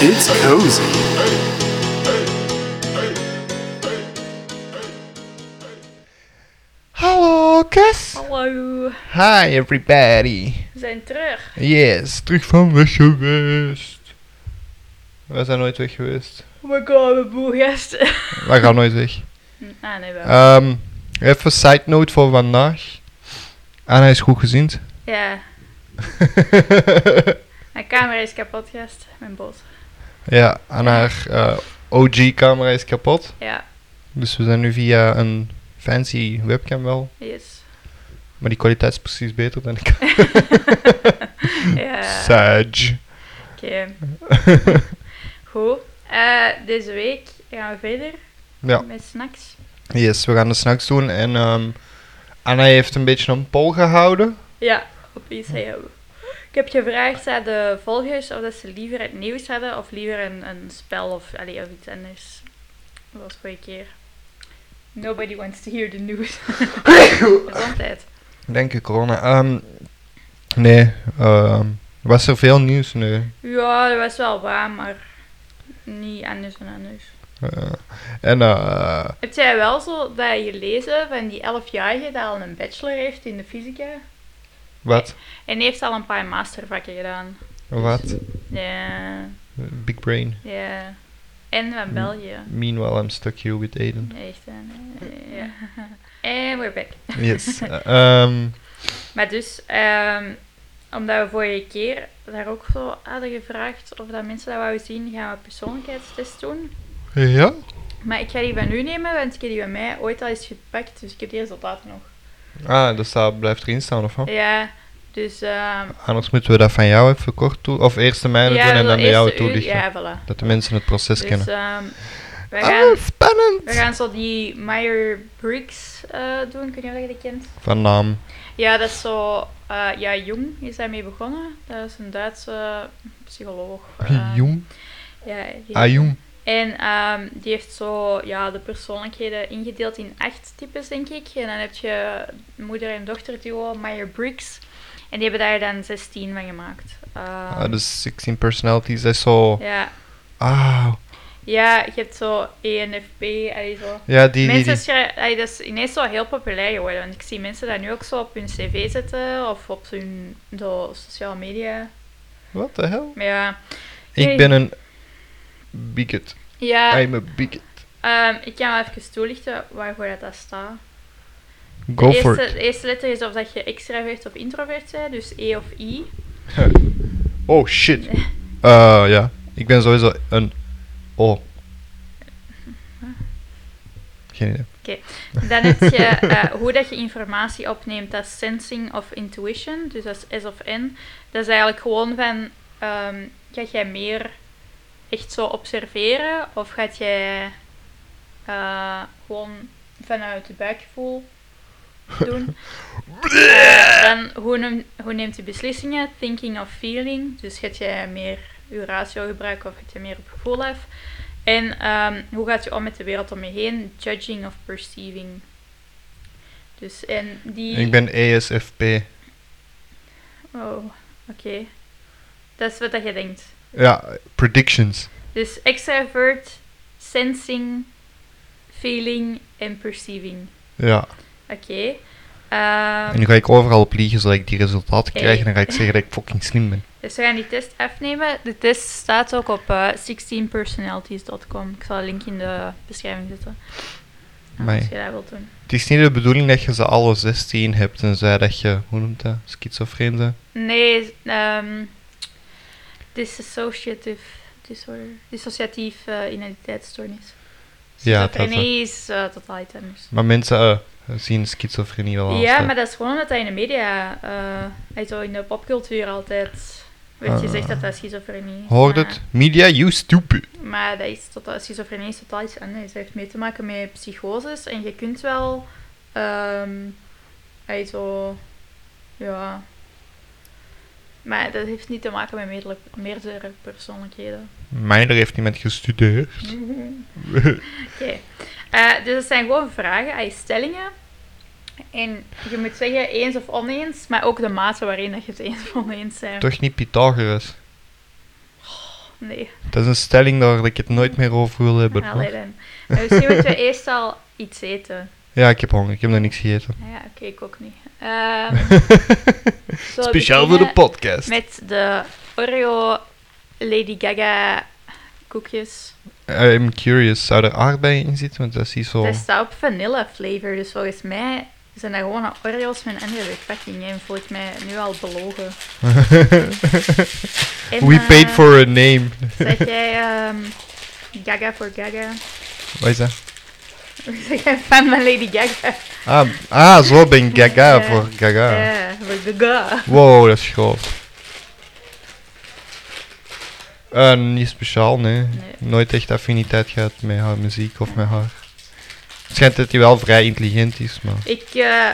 It's cozy. Hallo, Kes. Hallo, Hi, everybody. we zijn terug. Yes, terug van weg geweest. Wij zijn nooit weg geweest. Oh my god, mijn boergasten. Wij gaan nooit weg. Ah nee, wel. Ehm, even side note voor vandaag. Anna is goed gezind. Ja, mijn camera is kapot, gast. Mijn bot. ja, aan haar OG-camera is kapot. Ja, Dus we zijn nu via een fancy webcam wel. yes. Maar die kwaliteit is precies beter dan ik. Ja, oké. Sage. Goed. Eh, deze week gaan we verder Ja. met snacks. Yes, we gaan de snacks doen. En ehm, Anna heeft een beetje een poll gehouden. Ja, op Instagram. Ik heb gevraagd aan de volgers of dat ze liever het nieuws hadden of liever een, een spel of, allee, of iets anders. Dat was vorige keer. Nobody wants to hear the news. Gezondheid. Denk ik, corona. Ehm, nee, ehm, was er veel nieuws? Nee. Ja, dat was wel waar, maar niet anders dan anders. Eh, en eh, Heb jij wel zo dat gelezen van die 11-jarige dat al een bachelor heeft in de fysica? wat? En heeft al een paar mastervakken gedaan. Wat? Ja, Big brain. ja. En van België. Meanwhile, I'm stuck here with Aiden. Echt, hè? ja. En we're back. Yes. Eh, ehm, Maar dus, ehm, omdat we vorige keer daar ook zo hadden gevraagd of dat mensen dat wouden zien, gaan we een persoonlijkheidstest doen. ja? Maar ik ga die van u nemen, want ik heb die bij mij ooit al eens gepakt, dus ik heb die resultaten nog. Ah, dat staat, blijft erin staan, of wat? Ja, dus... ehm Anders moeten we dat van jou even kort toe... Of eerst de mijne doen en wel dan de jouwe eerste uur- toelichten. Ja, voilà. Dat de mensen het proces Dus kennen. ehm we, gaan, Ah, spannend! we gaan zo die Meyer Briggs eh, doen. Ik weet niet of je dat kent. Van naam. Ja, dat is zo... eh, ja, Jung is daarmee begonnen. Dat is een Duitse psycholoog. eh, Joem. Ja, die- Ah, Joem. En ehm, die heeft zo ja, de persoonlijkheden ingedeeld in acht types, denk ik. En dan heb je moeder- en dochterduo Meyer-Briggs. En die hebben daar dan 16 van gemaakt. Ehm, Ah, dus 16 personalities. Dat is zo... ja. Ah. ja, je hebt zo E ENFP, allee, zo. Ja, die... die, mensen die. schrijven, allee, dat is ineens zo heel populair geworden. Want ik zie mensen dat nu ook zo op hun cv zetten of op hun zo, sociale media. What the hell? Maar ja, Ik Hey. ben een bigot. ja I'm a bigot. ehm, ik kan wel even toelichten waarvoor dat, dat staat. Go de eerste, for it. de eerste letter is of dat je extravert of introvert bent, dus E of I. Oh shit. Eh, ja, ik ben sowieso een Oh. O. Geen idee. Dan heb je eh, hoe dat je informatie opneemt, dat is sensing of intuition, dus dat is S of N. Dat is eigenlijk gewoon van, ehm, gaat jij meer echt zo observeren of gaat jij eh, gewoon vanuit het buikgevoel doen? Eh, dan hoe, neem- hoe neemt je beslissingen? Thinking of feeling, dus gaat jij meer je ratio gebruiken of gaat je meer op gevoel af? En ehm, hoe gaat je om met de wereld om je heen? Judging of perceiving. Dus en die. Ik ben ESFP. Oh, oké. Dat is wat dat je denkt. Ja, predictions. Dus extravert, sensing, feeling en perceiving. Ja. Oké. Ehm, En nu ga ik overal op liegen zodat ik die resultaten Hey. krijg. En dan ga ik zeggen dat ik fucking slim ben. dus we gaan die test afnemen. De test staat ook op eh, 16personalities.com. Ik zal een link in de beschrijving zetten. Amai. Als je dat wilt doen. Het is niet de bedoeling dat je ze alle 16 hebt en zij dat je, hoe noemt dat, schizofreen bent. Nee, ehm dissociative disorder. Dissociatief eh, identiteitsstoornis. Dus Ja, dat Schizofrenie is eh, totaal iets anders. Maar mensen eh, zien schizofrenie wel als... Ja, eh, maar dat is gewoon dat hij in de media, eh, hij zo in de popcultuur altijd werd Ah. gezegd dat dat schizofrenie is. Hoort maar, het? Media, you stupid. Maar dat is totaal, schizofrenie is totaal iets anders. Dat heeft mee te maken met psychoses en je kunt wel, ehm hij zo, ja. Maar dat heeft niet te maken met meerdere, meerdere persoonlijkheden. Mijner heeft niemand gestudeerd. Oké. Eh, dus het zijn gewoon vragen, ay, stellingen. En je moet zeggen eens of oneens, maar ook de mate waarin dat je het eens of oneens bent. Toch niet Pythagoras? Nee. Dat is een stelling daar dat ik het nooit meer over wil hebben. maar- Allee dan. Maar misschien moeten we eerst al iets eten. Ja, ik heb honger. Ik heb nog niks gegeten. Nou ja, oké, ik ook niet. Ehm, zullen we Speciaal voor de beginnen podcast. Met de Oreo Lady Gaga koekjes. I'm curious. Zou er aardbeien in zitten? Want dat is iets zo... Dat staat op vanilla flavor, dus volgens mij zijn dat gewoon Oreos met een andere verpakking. En volgens mij nu al belogen. En, We eh, paid for a name. Zeg jij ehm, Gaga voor Gaga? Wat is dat? Zeg jij fan van Lady Gaga? Ah, ah zo ben ik Gaga Ja. voor Gaga. Ja, Eh, voor Gaga. Wow, dat is groot. Eh, niet speciaal, nee. Nee. Nooit echt affiniteit gehad met haar muziek of met haar. Het schijnt dat hij wel vrij intelligent is, maar... Ik, eh,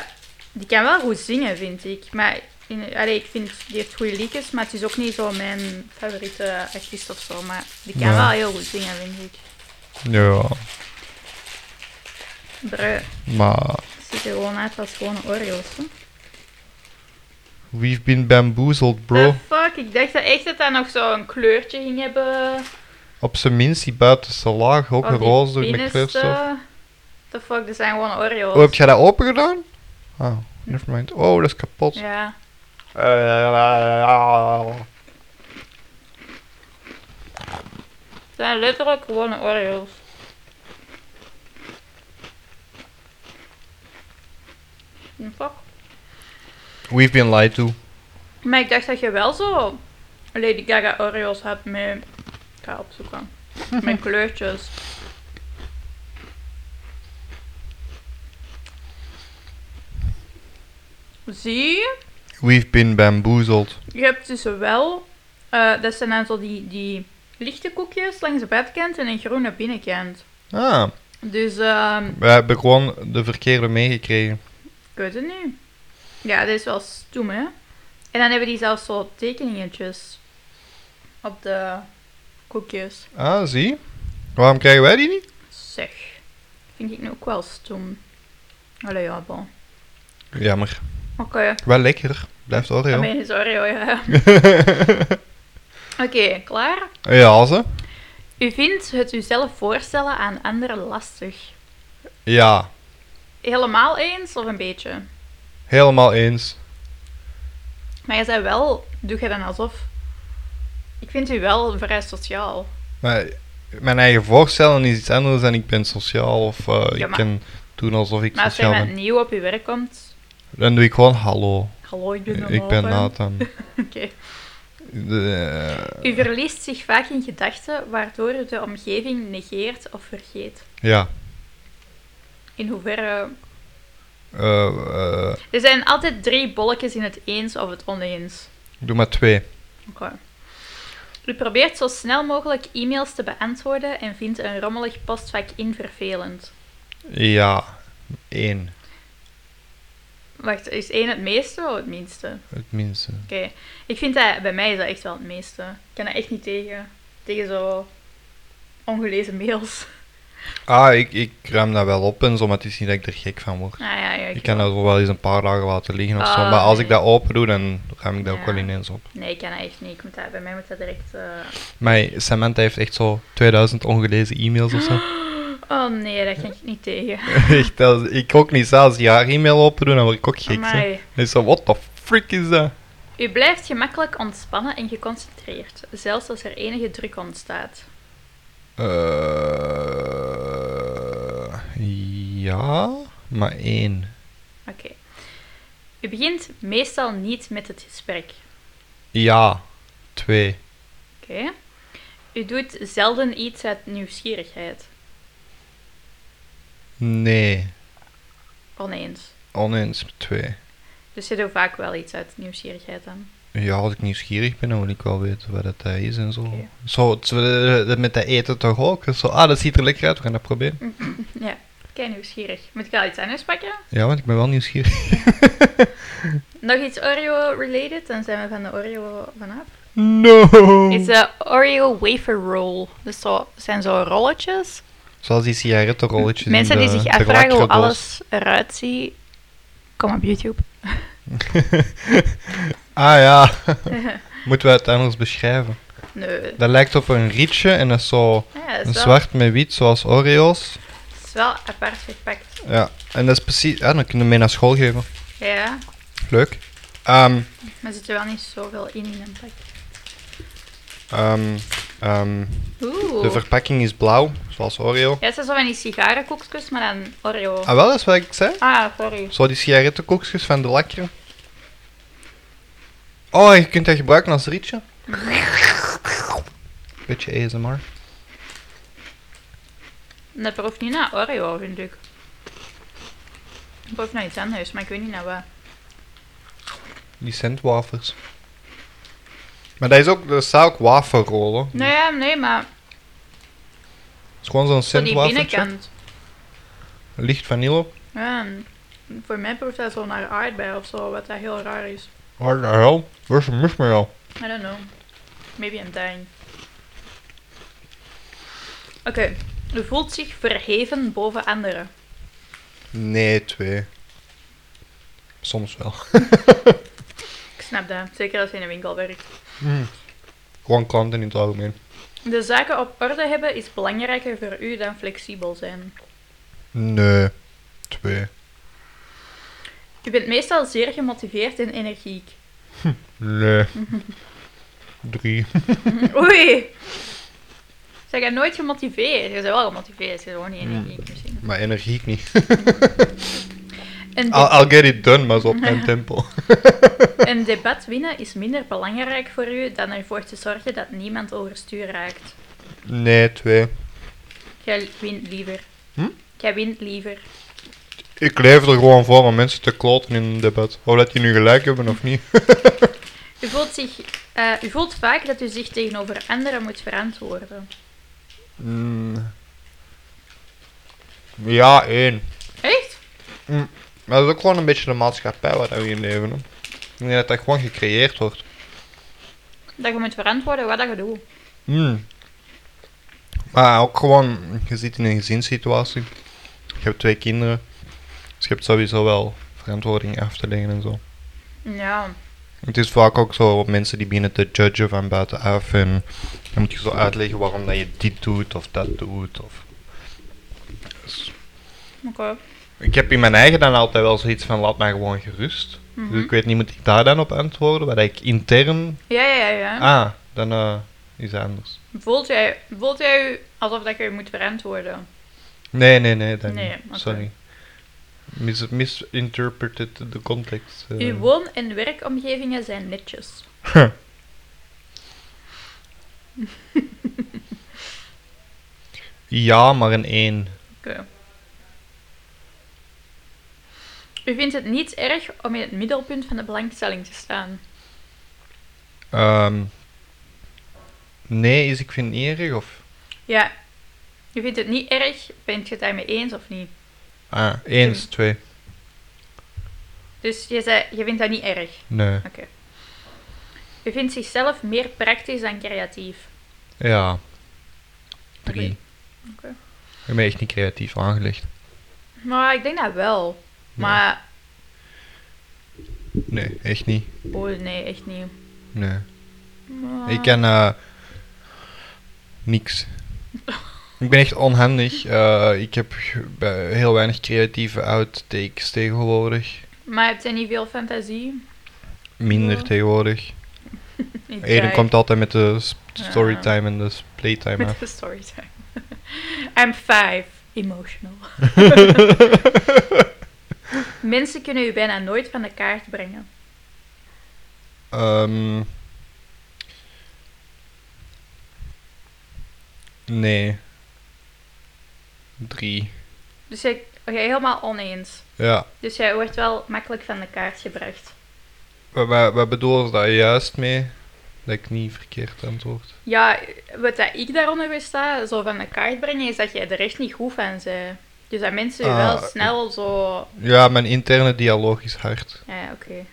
die kan wel goed zingen, vind ik. Maar in, allee, ik vind, die heeft goede liedjes, maar het is ook niet zo mijn favoriete artiest of zo. Maar die kan Ja. wel heel goed zingen, vind ik. Ja, Bruh, maar... het ziet er gewoon uit als gewoon Oreos. Hè? We've been bamboozled, bro. The Ah, fuck, ik dacht dat echt dat dat nog zo'n kleurtje ging hebben. Op zijn minst die buitenste laag, ook Of een Oh, die roze met binnenste. kleurstof. The fuck, dat zijn gewoon Oreos. Oh, heb jij dat open gedaan? Oh, nevermind. Oh, dat is kapot. Ja. Eh, Het zijn letterlijk gewoon Oreos. The fuck. We've been lied to. Maar ik dacht dat je wel zo Lady Gaga Oreos hebt met... Ik ga opzoeken. met kleurtjes. Zie, We've been bamboozled. je hebt dus wel... eh, dat zijn dan zo die, die lichte koekjes langs de buitenkant en een groene binnenkant. Ah, Dus, ehm we hebben gewoon de verkeerde meegekregen. ik weet het niet. Ja, dat is wel stoem, hè. En dan hebben die zelfs zo tekeningetjes op de koekjes. Ah, zie. Waarom krijgen wij die niet? Zeg, vind ik nu ook wel stom. Allee, ja, bon. Jammer. Oké, Wel lekker. Blijft dan Oreo. ben je sorry hoor. ja. Oké, klaar? ja, ze. U vindt het uzelf voorstellen aan anderen lastig. Ja, Helemaal eens of een beetje? helemaal eens. Maar je zei wel, doe je dan alsof... Ik vind u wel vrij sociaal. Maar mijn eigen voorstellen is iets anders dan ik ben sociaal of eh, Ja, ik maar- kan doen alsof ik Maar als jij sociaal met ben. nieuw op je werk komt... Dan doe ik gewoon hallo. Hallo, ik ben Ik ben Nathan. Nathan. Oké. De- eh, U verliest zich vaak in gedachten, waardoor u de omgeving negeert of vergeet. ja. In hoeverre Eh, eh, Er zijn altijd drie bolletjes in het eens of het oneens. doe maar twee. Oké. U probeert zo snel mogelijk e-mails te beantwoorden en vindt een rommelig postvak in vervelend. Ja. Eén. Wacht, is één het meeste of het minste? Oké. Het minste. Ik vind dat, bij mij is dat echt wel het meeste. Ik kan dat echt niet tegen. Tegen zo ongelezen mails. Ah, ik, ik ruim dat wel op en zo, maar het is niet dat ik er gek van word. Ah ja, ja. Ik kan dat zo wel eens een paar dagen laten liggen of zo, Ah, maar als ik nee. dat open doe, dan ruim ik dat ook Ja. wel ineens op. Nee, ik kan dat echt niet. Ik moet dat, bij mij moet dat direct... eh, Maar Samantha heeft echt zo 2000 ongelezen e-mails of zo. Oh nee, dat kan ik niet tegen. echt, dat, ik ook niet. Zelfs je haar e-mail open doen, dan word ik ook gek. Zo. Amai. Dan is zo, what the frick is dat? U blijft gemakkelijk ontspannen en geconcentreerd, zelfs als er enige druk ontstaat. Eh, ja, maar één. Oké. U begint meestal niet met het gesprek. Ja, twee. Oké. U doet zelden iets uit nieuwsgierigheid. Nee, Oneens. oneens twee. Dus je doet vaak wel iets uit nieuwsgierigheid aan. Ja, als ik nieuwsgierig ben, dan wil ik wel weten wat dat is en zo. Oké. Zo, het- eh, met dat eten toch ook? Zo, ah, dat ziet er lekker uit, we gaan dat proberen. Mm. Ja, kei nieuwsgierig. Moet ik al iets anders pakken? Ja, want ik ben wel nieuwsgierig. Nog iets Oreo-related? Dan zijn we van de Oreo vanaf. No! Is eh, de Oreo wafer roll. Dus zo, zijn zo rolletjes. Zoals die sigarettenrolletjes in Mensen die de- zich de afvragen hoe lacrodoos. alles eruit ziet, kom op YouTube. Ah ja, moeten we het anders beschrijven? Nee. Dat lijkt op een rietje en dat is zo Ja, dat een is wel, zwart met wit, zoals Oreo's. dat is wel apart verpakt. Ja, en dat is precies... Ja, dan kunnen we mee naar school geven. Ja, Leuk. Ehm, maar er zit er wel niet zoveel in in een pak. ehm, ehm, Oeh. de verpakking is blauw, zoals Oreo. Ja, het zijn zo van die sigarenkoekjes, maar dan Oreo. Ah, wel, dat is wat ik zei. Ah, sorry. Zo die sigarettenkoekjes van de lakker. Oh, je kunt dat gebruiken als rietje. Beetje ASMR. Dat proeft niet naar Oreo, vind ik. Het proeft naar iets anders, maar ik weet niet naar wat. Die centwafers. Maar dat is ook, er staat ook wafelrollen. Nee, ja, nee, maar Het is gewoon zo'n zo die centwafeltje. binnenkant. Licht vanille. Ja, voor mij proeft dat zo naar aardbei of zo, wat dat heel raar is. What the hell? Waar is een mis mee al? I don't know. Maybe I'm dying. Oké, u voelt zich verheven boven anderen. Nee, twee. Soms wel. Ik snap dat, zeker als je in een winkel werkt. Gewoon klanten in het algemeen. De zaken op orde hebben is belangrijker voor u dan flexibel zijn. Nee, twee. U bent meestal zeer gemotiveerd en energiek. Nee. Drie. Oei! Zij gaat nooit gemotiveerd. Je bent wel gemotiveerd, je bent gewoon niet energiek misschien. Maar energiek niet. Een, de- I'll, I'll get it done, maar zo op mijn tempo. een debat winnen is minder belangrijk voor u dan ervoor te zorgen dat niemand overstuur raakt. Nee, twee. Jij wint liever. Hm? Jij wint liever. Ik leef er gewoon voor om mensen te kloten in een debat. Of dat die nu gelijk hebben of niet. U voelt, zich, eh, u voelt vaak dat u zich tegenover anderen moet verantwoorden. Mm. Ja, één. Echt? Maar dat is ook gewoon een beetje de maatschappij waar we in leven. Hè. Ik denk dat dat gewoon gecreëerd wordt. Dat je moet verantwoorden wat dat je doet. Mm. Maar ook gewoon, je zit in een gezinssituatie. Je hebt twee kinderen. Dus je hebt sowieso wel verantwoording af te leggen en zo. Ja. Het is vaak ook zo mensen die beginnen te judgen van buitenaf. En dan moet je zo uitleggen waarom dat je dit doet of dat doet. Of... Dus Oké. ik heb in mijn eigen dan altijd wel zoiets van laat mij gewoon gerust. Mhm. Dus ik weet niet, moet ik daar dan op antwoorden? Wat ik intern... Ja, ja, ja. ja. Ah, dan eh, is het anders. Voelt, jij, voelt jij u alsof dat je u moet verantwoorden? Nee, nee, nee. Dan Nee, niet. oké. Sorry. Mis misinterpreted the context. eh. Uw woon- en werkomgevingen zijn netjes. Ja, maar een één. Oké. U vindt het niet erg om in het middelpunt van de belangstelling te staan. Ehm, nee, is ik vind het niet erg, of... Ja. U vindt het niet erg, bent je het daarmee eens of niet? Ah, eens, twee. Dus je, zei, je vindt dat niet erg. Nee. U vindt zichzelf meer praktisch dan creatief. Ja. Drie. Oké. Ik ben echt niet creatief aangelegd. Maar ik denk dat wel. Maar, Nee, echt niet. oh nee, echt niet. Nee. Maar- Ik kan eh, niks. Ik ben echt onhandig. Eh, ik heb ge- bij- heel weinig creatieve outtakes tegenwoordig. Maar heb je niet veel fantasie? Minder Ja. tegenwoordig. Niet Eden graag. komt altijd met de s- Ja. storytime en de s- playtime. Met af. de storytime. I'm five. Emotional. Mensen kunnen u bijna nooit van de kaart brengen. Ehm. nee. Drie. Dus jij, jij helemaal oneens. Ja. Dus jij wordt wel makkelijk van de kaart gebracht. Wat, wat, wat bedoel je daar juist mee? Dat ik niet verkeerd antwoord. Ja, wat dat ik daaronder versta, zo van de kaart brengen, is dat jij er echt niet goed van bent. Dus dat mensen je wel Ah, snel zo... Ja, mijn interne dialoog is hard. Ja, oké.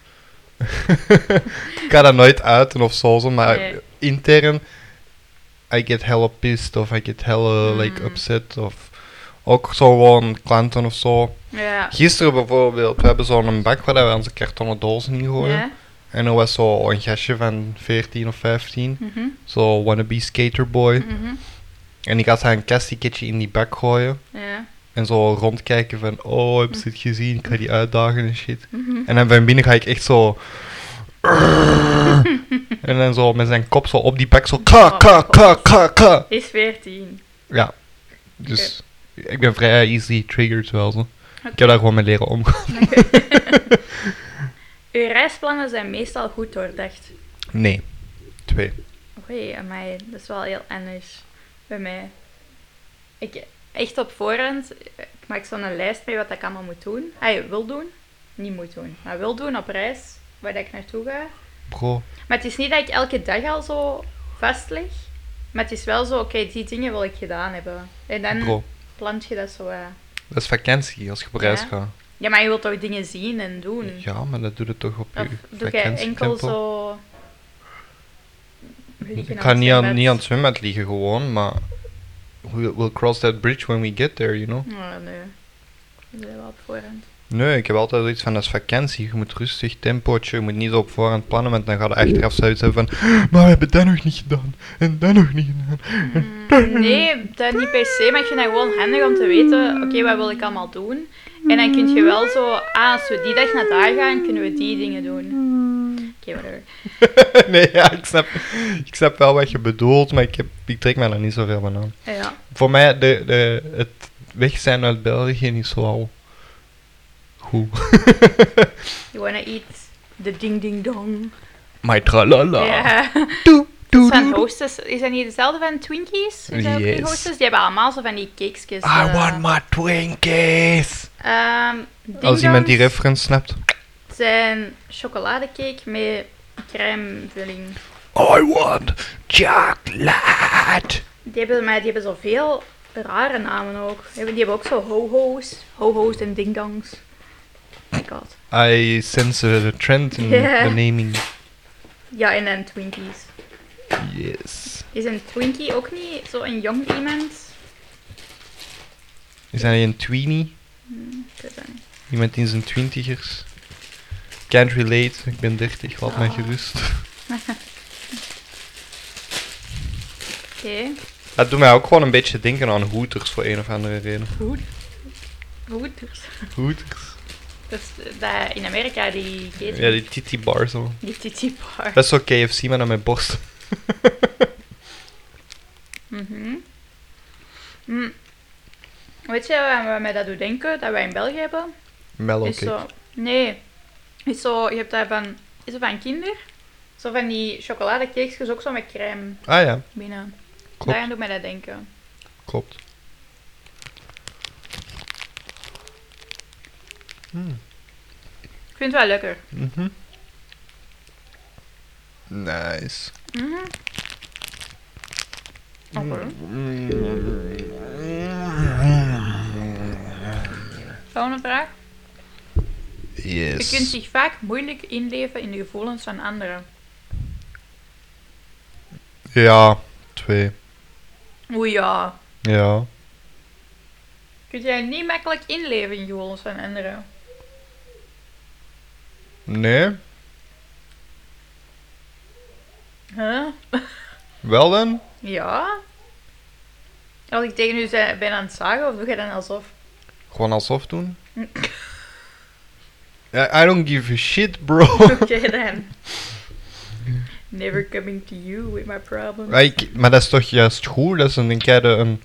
Ik ga dat nooit uiten of zo, zo, maar Nee. intern... I get hella pissed of I get hella like, Mm. upset of... Ook zo gewoon klanten of zo. Ja. Gisteren bijvoorbeeld, we hebben zo'n bak waar we onze kartonnen dozen in gooien. Ja? En er was zo een gastje van 14 of 15. Mhm, Zo wannabe skaterboy. mhm. En ik had haar een kastiketje in die bak gooien. Ja. En zo rondkijken van, oh, heb ze het gezien? Ik ga die uitdagen en shit. Mhm. En dan van binnen ga ik echt zo... en dan zo met zijn kop zo op die bak zo... Ka, ka, ka, ka, ka. Is 14. Ja. Dus ik ben vrij easy triggered wel zo. Ik heb Oké. daar gewoon mee leren omgaan. Uw reisplannen zijn meestal goed doordacht. Nee. Twee. Oei, amai, dat is wel heel anders bij mij. Ik, echt op voorhand, eh, ik maak zo'n lijst mee wat ik allemaal moet doen. Ah, wil doen. Niet moet doen. Maar wil doen op reis, waar dat ik naartoe ga. Bro. Maar het is niet dat ik elke dag al zo vastleg. Maar het is wel zo, oké, die dingen wil ik gedaan hebben. En dan Bro. plant je dat zo uit. Dat is vakantie als je op reis Ja. gaat. Ja, maar je wilt toch dingen zien en doen? Ja, maar dat doet het toch op Of je doe jij enkel vakantietempo? zo... nou, Ik ga niet aan, niet aan het zwembad liggen gewoon, maar... We'll, we'll cross that bridge when we get there, you know? Oh, nee. Ik ben wel op voorhand. Nee, ik heb altijd zoiets van, dat is vakantie. Je moet rustig, tempootje, je moet niet zo op voorhand plannen, want dan ga je achteraf zoiets hebben van... "Ah, Maar we hebben dat nog niet gedaan, en dat nog niet gedaan. Mm, Nee, dat niet per se, maar ik vind dat gewoon handig om te weten, oké, wat wil ik allemaal doen? En dan kun je wel zo, ah, als we die dag naar daar gaan, kunnen we die dingen doen. Oké, whatever. nee, ja, ik snap, ik snap wel wat je bedoelt, maar ik, heb, ik trek mij daar niet zoveel van aan. Ja. Voor mij, de, de, het weg zijn uit België is zo al... Goed. You wanna eat the ding ding dong. Maar tralala. Ja. Doe, doe, Van doe, doe. hostess, is dat niet dezelfde van Twinkies? Is dat ook die Yes. hostess? Die hebben allemaal zo van die cakesjes. I eh, want my Twinkies. ehm, Als iemand die ding-dongs. reference snapt. zijn chocoladecake met crèmevulling. I want chocolate. Die hebben, maar die hebben zoveel rare namen ook. Die hebben, die hebben ook zo ho-ho's. Ho-ho's en ding-dongs. Oh my god. I sense a trend in Ja. the naming. Ja, en dan Twinkies. Yes. Is een Twinkie ook niet zo'n jong iemand? Is hij een tweenie? Hmm, Ik weet dat niet. Iemand in zijn twintigers? Can't relate, ik ben 30, laat mij Ah. gerust. Oké. Dat doet mij ook gewoon een beetje denken aan hoeters voor een of andere reden. Goed. Goed. dus. Hoeters? Dat is dat in Amerika die keten. Ja, die titty bar zo. Die titty bar. Dat is zo KFC, maar dan met borst. Mhm. Mm. Weet je waar- waar mij dat doet denken? Dat wij in België hebben? Mellow Is cake. zo, nee. Is zo, je hebt daar van, is het van kinder? Zo van die chocoladecakejes ook zo met crème Ah ja, binnen. Klopt. Daaraan doet mij dat denken. klopt. Ik vind het wel lekker. Mhm. Nice. Mhm. Oké. Mm. Volgende vraag. Yes. Je kunt zich vaak moeilijk inleven in de gevoelens van anderen. Ja, twee. Oeh ja. Ja. Kun jij niet makkelijk inleven in de gevoelens van anderen? Nee. Huh? Wel dan? Ja. Als ik tegen u zei- ben aan het zagen, of doe jij dan alsof? Gewoon alsof doen. I I don't give a shit, bro. Oké dan. Never coming to you with my problems. Ah, ik- maar dat is toch juist goed? Dat is een, denk jij, de- een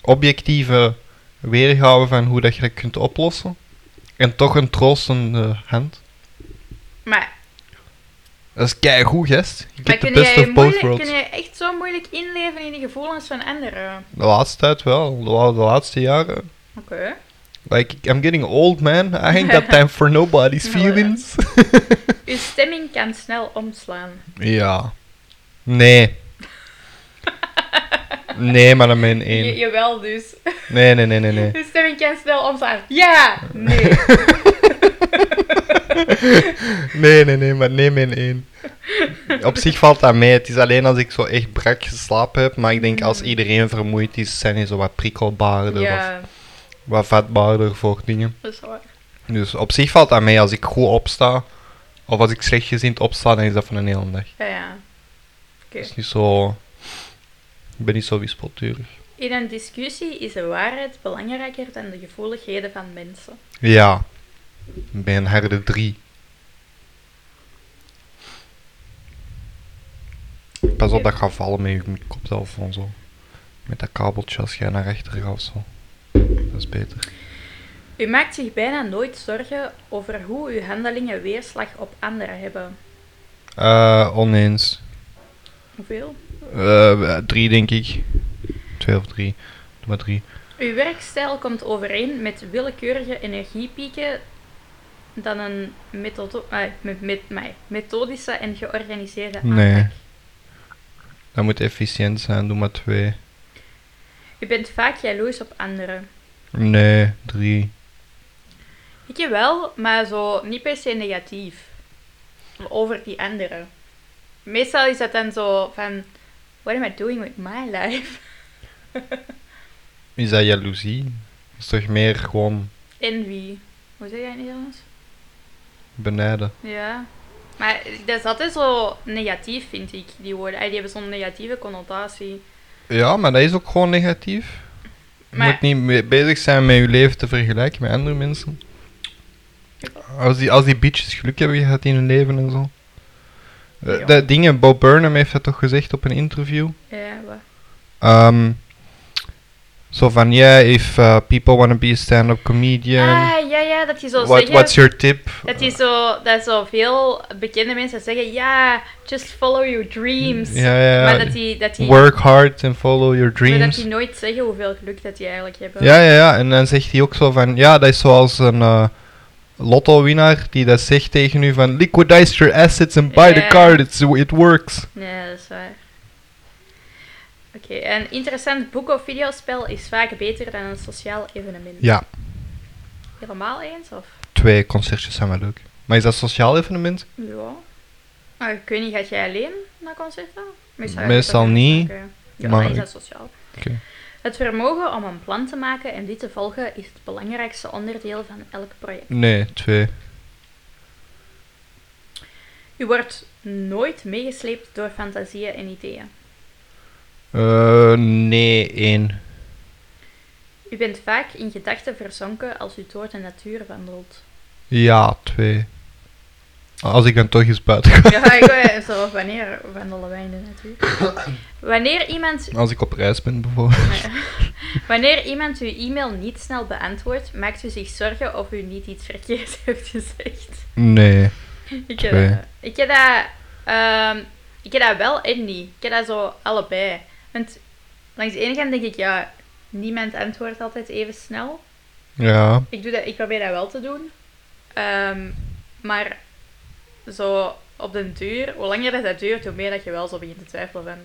objectieve weergave van hoe dat je dat kunt oplossen. En toch een troostende hand. Maar, Dat is keigoed, gest. Je maar krijgt de kun, jij best je of both moeilijk, kun worlds. jij echt zo moeilijk inleven in de gevoelens van anderen? De laatste tijd wel. De, la- de laatste jaren. Oké. Like, I'm getting old, man. I ain't got time for nobody's Nou, ja. feelings. Uw stemming kan snel omslaan. ja. Nee. Nee, maar dan ben ik Je, één. jawel dus. Nee, nee, nee, nee, nee. Uw stemming kan snel omslaan. Ja! Nee. Nee, nee, nee, maar nee, min één. Op zich valt dat mee. Het is alleen als ik zo echt brak geslapen heb. Maar ik denk als iedereen vermoeid is, zijn die zo wat prikkelbaarder of Mm. ja, wat vatbaarder voor dingen. dat is waar. Dus op zich valt dat mee als ik goed opsta. Of als ik slecht gezind opsta, dan is dat van een hele dag. Ja, ja. Oké. Het is niet zo... Ik ben niet zo wispelturig. In een discussie is de waarheid belangrijker dan de gevoeligheden van mensen. Ja. Ik ben een harde drie. Pas op dat gaat vallen met je koptelefoon zo. Met dat kabeltje als jij naar achter gaat of zo. Dat is beter. U maakt zich bijna nooit zorgen over hoe uw handelingen weerslag op anderen hebben. Eh, oneens. Hoeveel? Eh, drie denk ik. Twee of drie. Doe maar drie. Uw werkstijl komt overeen met willekeurige energiepieken dan een methodo- eh, met, met, mij, methodische en georganiseerde aanpak. Nee. Dat moet efficiënt zijn. Doe maar twee. U bent vaak jaloers op anderen. Nee, drie. Ik wel, maar zo niet per se negatief. Over die anderen. Meestal is dat dan zo van... What am I doing with my life? Is dat jaloezie? Dat is toch meer gewoon Envy. Hoe zeg jij in het Nederlands? benijden? Ja. Maar dat is altijd zo negatief, vind ik, die woorden. Ay, Die hebben zo'n negatieve connotatie. Ja, maar dat is ook gewoon negatief. Je Maar- moet niet mee- bezig zijn met je leven te vergelijken met andere mensen. Als die, als die bitches geluk hebben gehad in hun leven en zo. Eh, Ja. Dat ding, Bob Burnham heeft dat toch gezegd op een interview? Ja, wat? Ehm, zo van, yeah, if uh, people want to be a stand-up comedian, Ah, ja, ja, dat die zo what, zeggen... what's your tip? dat die zo, dat zo veel bekende mensen zeggen, ja, just follow your dreams. Ja, ja, ja. Maar dat die, dat die, Work hard and follow your maar dat dreams. die nooit zeggen hoeveel geluk dat die eigenlijk hebben. Ja, ja, ja. En dan zegt hij ook zo van... Ja, dat is zoals een eh, lotto-winnaar die dat zegt tegen u van... Liquidize your assets and buy Ja. the card. It's, it works. Nee, dat is waar. Oké, een interessant boek of videospel is vaak beter dan een sociaal evenement. Ja, Helemaal eens, of? twee concertjes zijn wel leuk. Maar is dat sociaal evenement? Ja. Maar ik weet niet, gaat jij alleen naar concerten? gaat je Meestal dat ook niet, maken. Ja, maar maar is ik- dat sociaal? Oké. Het vermogen om een plan te maken en dit te volgen is het belangrijkste onderdeel van elk project. Nee, twee. U wordt nooit meegesleept door fantasieën en ideeën. Eh, nee, één. U bent vaak in gedachten verzonken als u door de natuur wandelt. Ja, twee. Als ik dan toch eens buiten ga. Ja, ik weet zo, wanneer wandelen wij in de natuur? Wanneer iemand Als ik op reis ben, bijvoorbeeld. Wanneer iemand uw e-mail niet snel beantwoordt, maakt u zich zorgen of u niet iets verkeerd heeft gezegd. Nee. Ik heb Twee. dat, ik heb dat, ehm, ik heb dat wel en niet. Ik heb dat zo allebei. Want langs de ene kant denk ik, ja, niemand antwoordt altijd even snel. Ja. Ik, doe dat, ik probeer dat wel te doen. Ehm, maar zo op den duur, hoe langer dat, dat duurt, hoe meer dat je wel zo begint te twijfelen van...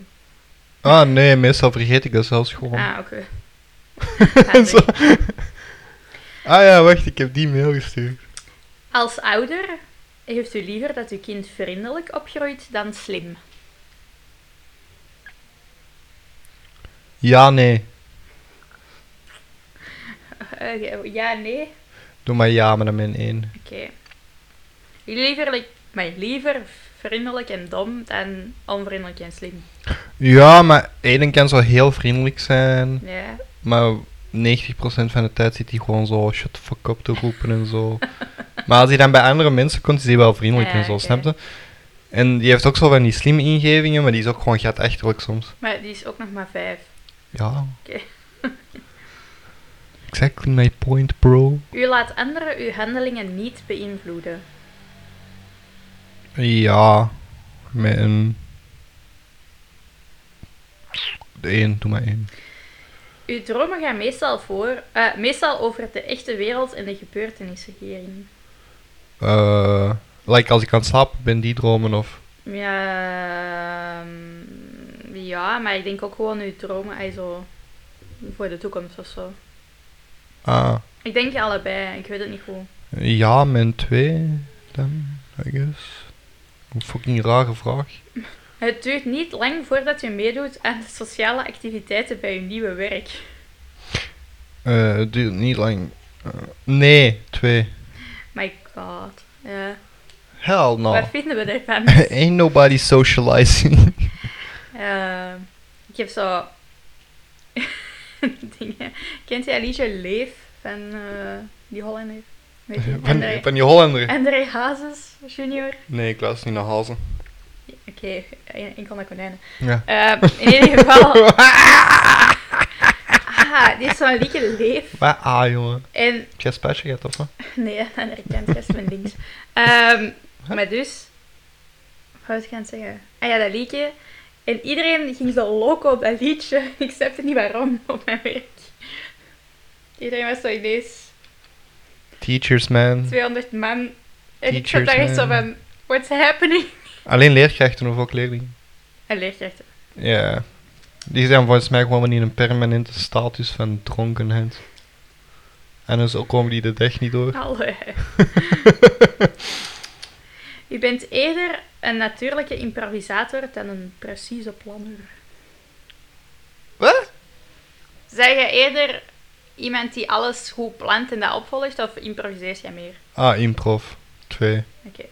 Ah, nee. Meestal vergeet ik dat zelfs gewoon. Ah, oké. Handig. Zo. Ah ja, wacht. Ik heb die mail gestuurd. Als ouder heeft u liever dat uw kind vriendelijk opgroeit dan slim. Ja, nee. Eh, ja, nee. Doe maar ja met een min 1. Oké. Liever, like- maar liever vriendelijk en dom dan onvriendelijk en slim. Ja, maar Aiden kan zo heel vriendelijk zijn, Ja. maar 90% van de tijd zit hij gewoon zo shut the fuck up te roepen en zo. maar als hij dan bij andere mensen komt, is hij wel vriendelijk Ja, en zo, oké. snap je? En die heeft ook zo van die slimme ingevingen, maar die is ook gewoon gatachterlijk soms. Maar die is ook nog maar vijf. Ja. Oké. exactly my point, bro. U laat anderen uw handelingen niet beïnvloeden. Ja, met een... De 1, doe maar 1. Uw dromen gaan meestal, voor, eh, meestal over de echte wereld en de gebeurtenissen hierin. Eh, like als ik aan het slapen ben, die dromen of... Ja, ehm, ja, maar ik denk ook gewoon uw dromen eh, zo, voor de toekomst of zo. Ah, Ik denk allebei, ik weet het niet goed. ja, mijn twee, dan, I guess. Een fucking rare vraag. Het duurt niet lang voordat u meedoet aan de sociale activiteiten bij uw nieuwe werk. Eh, het duurt niet lang. Eh, nee, twee. My god. Ja. Hell no. Wat vinden we ervan? Ain't nobody socializing. Eh, ik heb zo dingen. Kent jij Alicia Leef van eh, die Hollander? Weet je? Eh, eh, Van, André, van die Hollander. André Hazes junior. Nee, ik luister niet naar Hazen. Oké, en enkel naar konijnen. Ja. Eh, in ieder geval. ah, die is zo'n lieke leef. Maar ah, jongen. En Heb jij spijtje gehad, of wat? nee, aan de andere kant is mijn links. Ehm, maar dus, wat was ik aan het zeggen? Ah ja, dat liedje. En iedereen ging zo loco op dat liedje. Ik snapte niet waarom op mijn werk. Iedereen was zo ineens Teachers, man. 200 man. En ik zat Teachers, daar echt zo man. van, what's happening? Alleen leerkrachten of ook leerlingen? En leerkrachten. Ja. Die zijn volgens mij gewoon in een permanente status van dronkenheid. En dus ook komen die de dag niet door. Allee. U bent eerder een natuurlijke improvisator dan een precieze planner. Wat? Zeg je eerder iemand die alles goed plant en dat opvolgt, of improviseer jij meer? Ah, improv. Twee. Oké.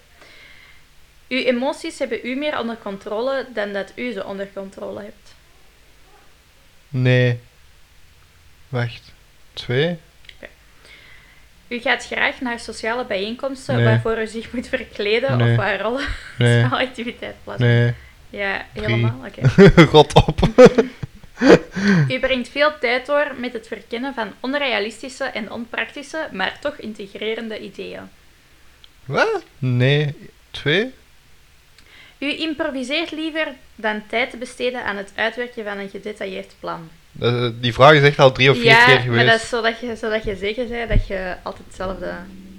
Uw emoties hebben u meer onder controle dan dat u ze onder controle hebt. Nee. Wacht. Twee? U gaat graag naar sociale bijeenkomsten Nee. waarvoor u zich moet verkleden Nee. of waar rollen Nee. activiteit plaatsen. Nee. Ja, Drie. helemaal. Oké. God op. U brengt veel tijd door met het verkennen van onrealistische en onpraktische, maar toch integrerende ideeën. Wat? Nee. Twee? U improviseert liever dan tijd te besteden aan het uitwerken van een gedetailleerd plan. Dat- die vraag is echt al drie of vier ja, keer maar geweest. dat is zodat je, zodat je zeker bent dat je altijd hetzelfde...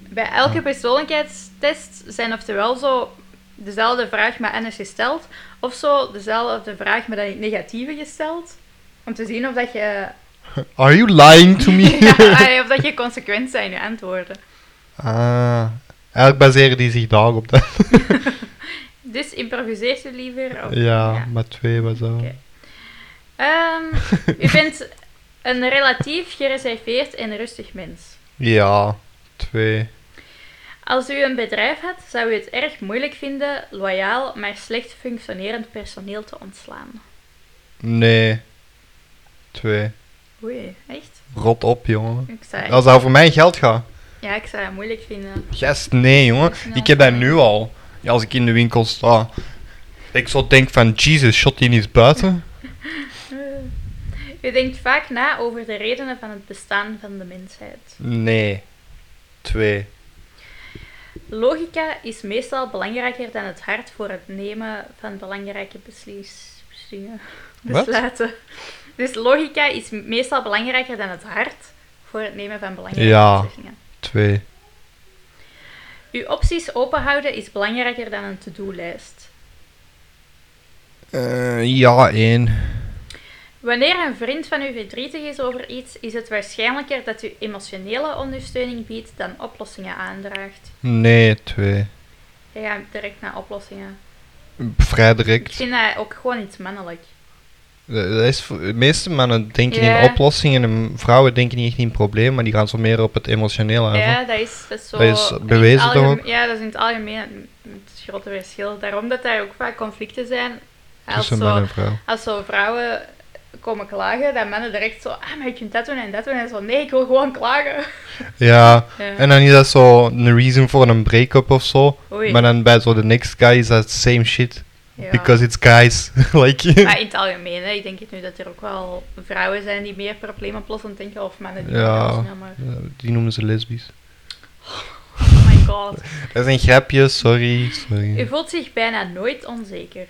Bij elke persoonlijkheidstest zijn oftewel zo dezelfde vraag, maar anders gesteld, of zo dezelfde vraag, maar dan in het negatieve gesteld, om te zien of dat je, Are you lying to me? ja, of dat je consequent bent in je antwoorden. Ah, eigenlijk baseren die zich daarop. Dat. Dus improviseert u liever? Of... Ja, maar twee was dat. Oké. Ehm, u bent een relatief gereserveerd en rustig mens. Ja, twee. Als u een bedrijf had, zou u het erg moeilijk vinden loyaal maar slecht functionerend personeel te ontslaan. Nee. Twee. Oei, echt? Rot op, jongen. Ik zou, Als dat voor mijn geld gaat. ja, ik zou het moeilijk vinden. Yes, nee, jongen. Ik heb dat nu al. Ja, als ik in de winkel sta. Ik zo denk van, Jesus, shot die niet eens buiten? Eh. U denkt vaak na over de redenen van het bestaan van de mensheid. Nee. Twee. Logica is meestal belangrijker dan het hart voor het nemen van belangrijke beslis- beslissingen. Wat? Besluiten. Dus logica is meestal belangrijker dan het hart voor het nemen van belangrijke Ja. beslissingen. Twee. Uw opties openhouden is belangrijker dan een to-do-lijst. Eh, ja, één. Wanneer een vriend van u verdrietig is over iets, is het waarschijnlijker dat u emotionele ondersteuning biedt dan oplossingen aandraagt. Nee, twee. Je gaat direct naar oplossingen. Vrij Ik direct. vind dat ook gewoon iets mannelijk. Dat dat is voor- de meeste mannen denken Ja. in oplossingen en vrouwen denken niet echt in problemen, maar die gaan zo meer op het emotionele aan. Ja, dat is, dat is zo. Dat is in het bewezen toch algemeen- ook? Ja, dat is in het algemeen het- het grote verschil. Daarom dat daar ook vaak conflicten zijn. Als tussen man zo, en vrouw. als zo vrouwen komen klagen, dat mannen direct zo, ah, maar je kunt dat doen en dat doen. En zo, nee, ik wil gewoon klagen. Ja, Ja. en dan is dat zo een reason voor een break-up of zo, Oei. maar dan bij zo de next guy is dat same shit, Ja. because it's guys. like, Maar in het algemeen, hè, ik denk het nu dat er ook wel vrouwen zijn die meer probleemoplossend denken of mannen die Ja. dat doen, maar- Ja, die noemen ze lesbisch. Oh my god. Dat is een grapje, sorry. sorry. U voelt zich bijna nooit onzeker.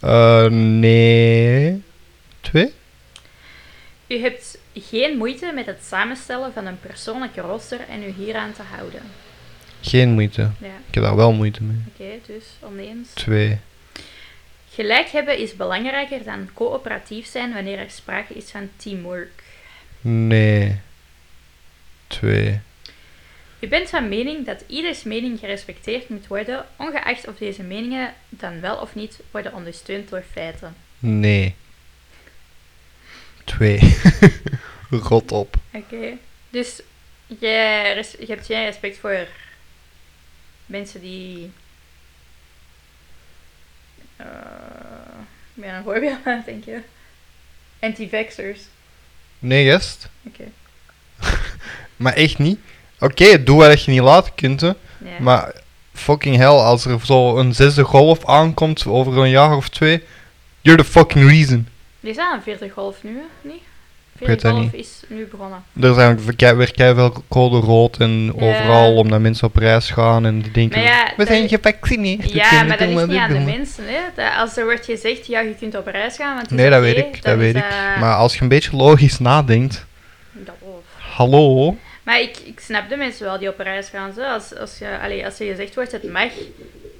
Eh, nee. Twee? U hebt geen moeite met het samenstellen van een persoonlijke roster en u hieraan te houden. Geen moeite. Ja. Ik heb daar wel moeite mee. Oké, dus oneens. Twee. Gelijk hebben is belangrijker dan coöperatief zijn wanneer er sprake is van teamwork. Nee. Twee. U bent van mening dat ieders mening gerespecteerd moet worden, ongeacht of deze meningen dan wel of niet worden ondersteund door feiten. Nee. Twee. Rot op. Oké. Dus jij res- je hebt geen respect voor mensen die Eh, ik ben een voorbeeld aan het denken. Anti-vaxxers. Nee, gest. Oké. maar echt niet. Oké, doe wat je niet laat kunt, hè. Ja. Maar fucking hell, als er zo een zesde golf aankomt over een jaar of twee, you're the fucking reason. Er is aan een vierde golf nu, hè? niet? weet Vierde dat golf niet. is nu begonnen. Er zijn weer kei- weer keiveel code rood en overal, omdat mensen op reis gaan en die denken, Maar ja, we dat- zijn gevaccineerd. we Ja, kunnen maar dat doen is wat niet we aan de willen." mensen. Hè? Dat als er wordt gezegd, ja, je kunt op reis gaan. Want het is Nee, dat Dus oké, weet ik, dat, is, weet ik. eh, Maar als je een beetje logisch nadenkt, dat hoeft. hallo, Maar ik, ik snap de mensen wel die op reis gaan. Zo. Als, als, je, allee, als je gezegd wordt, het mag.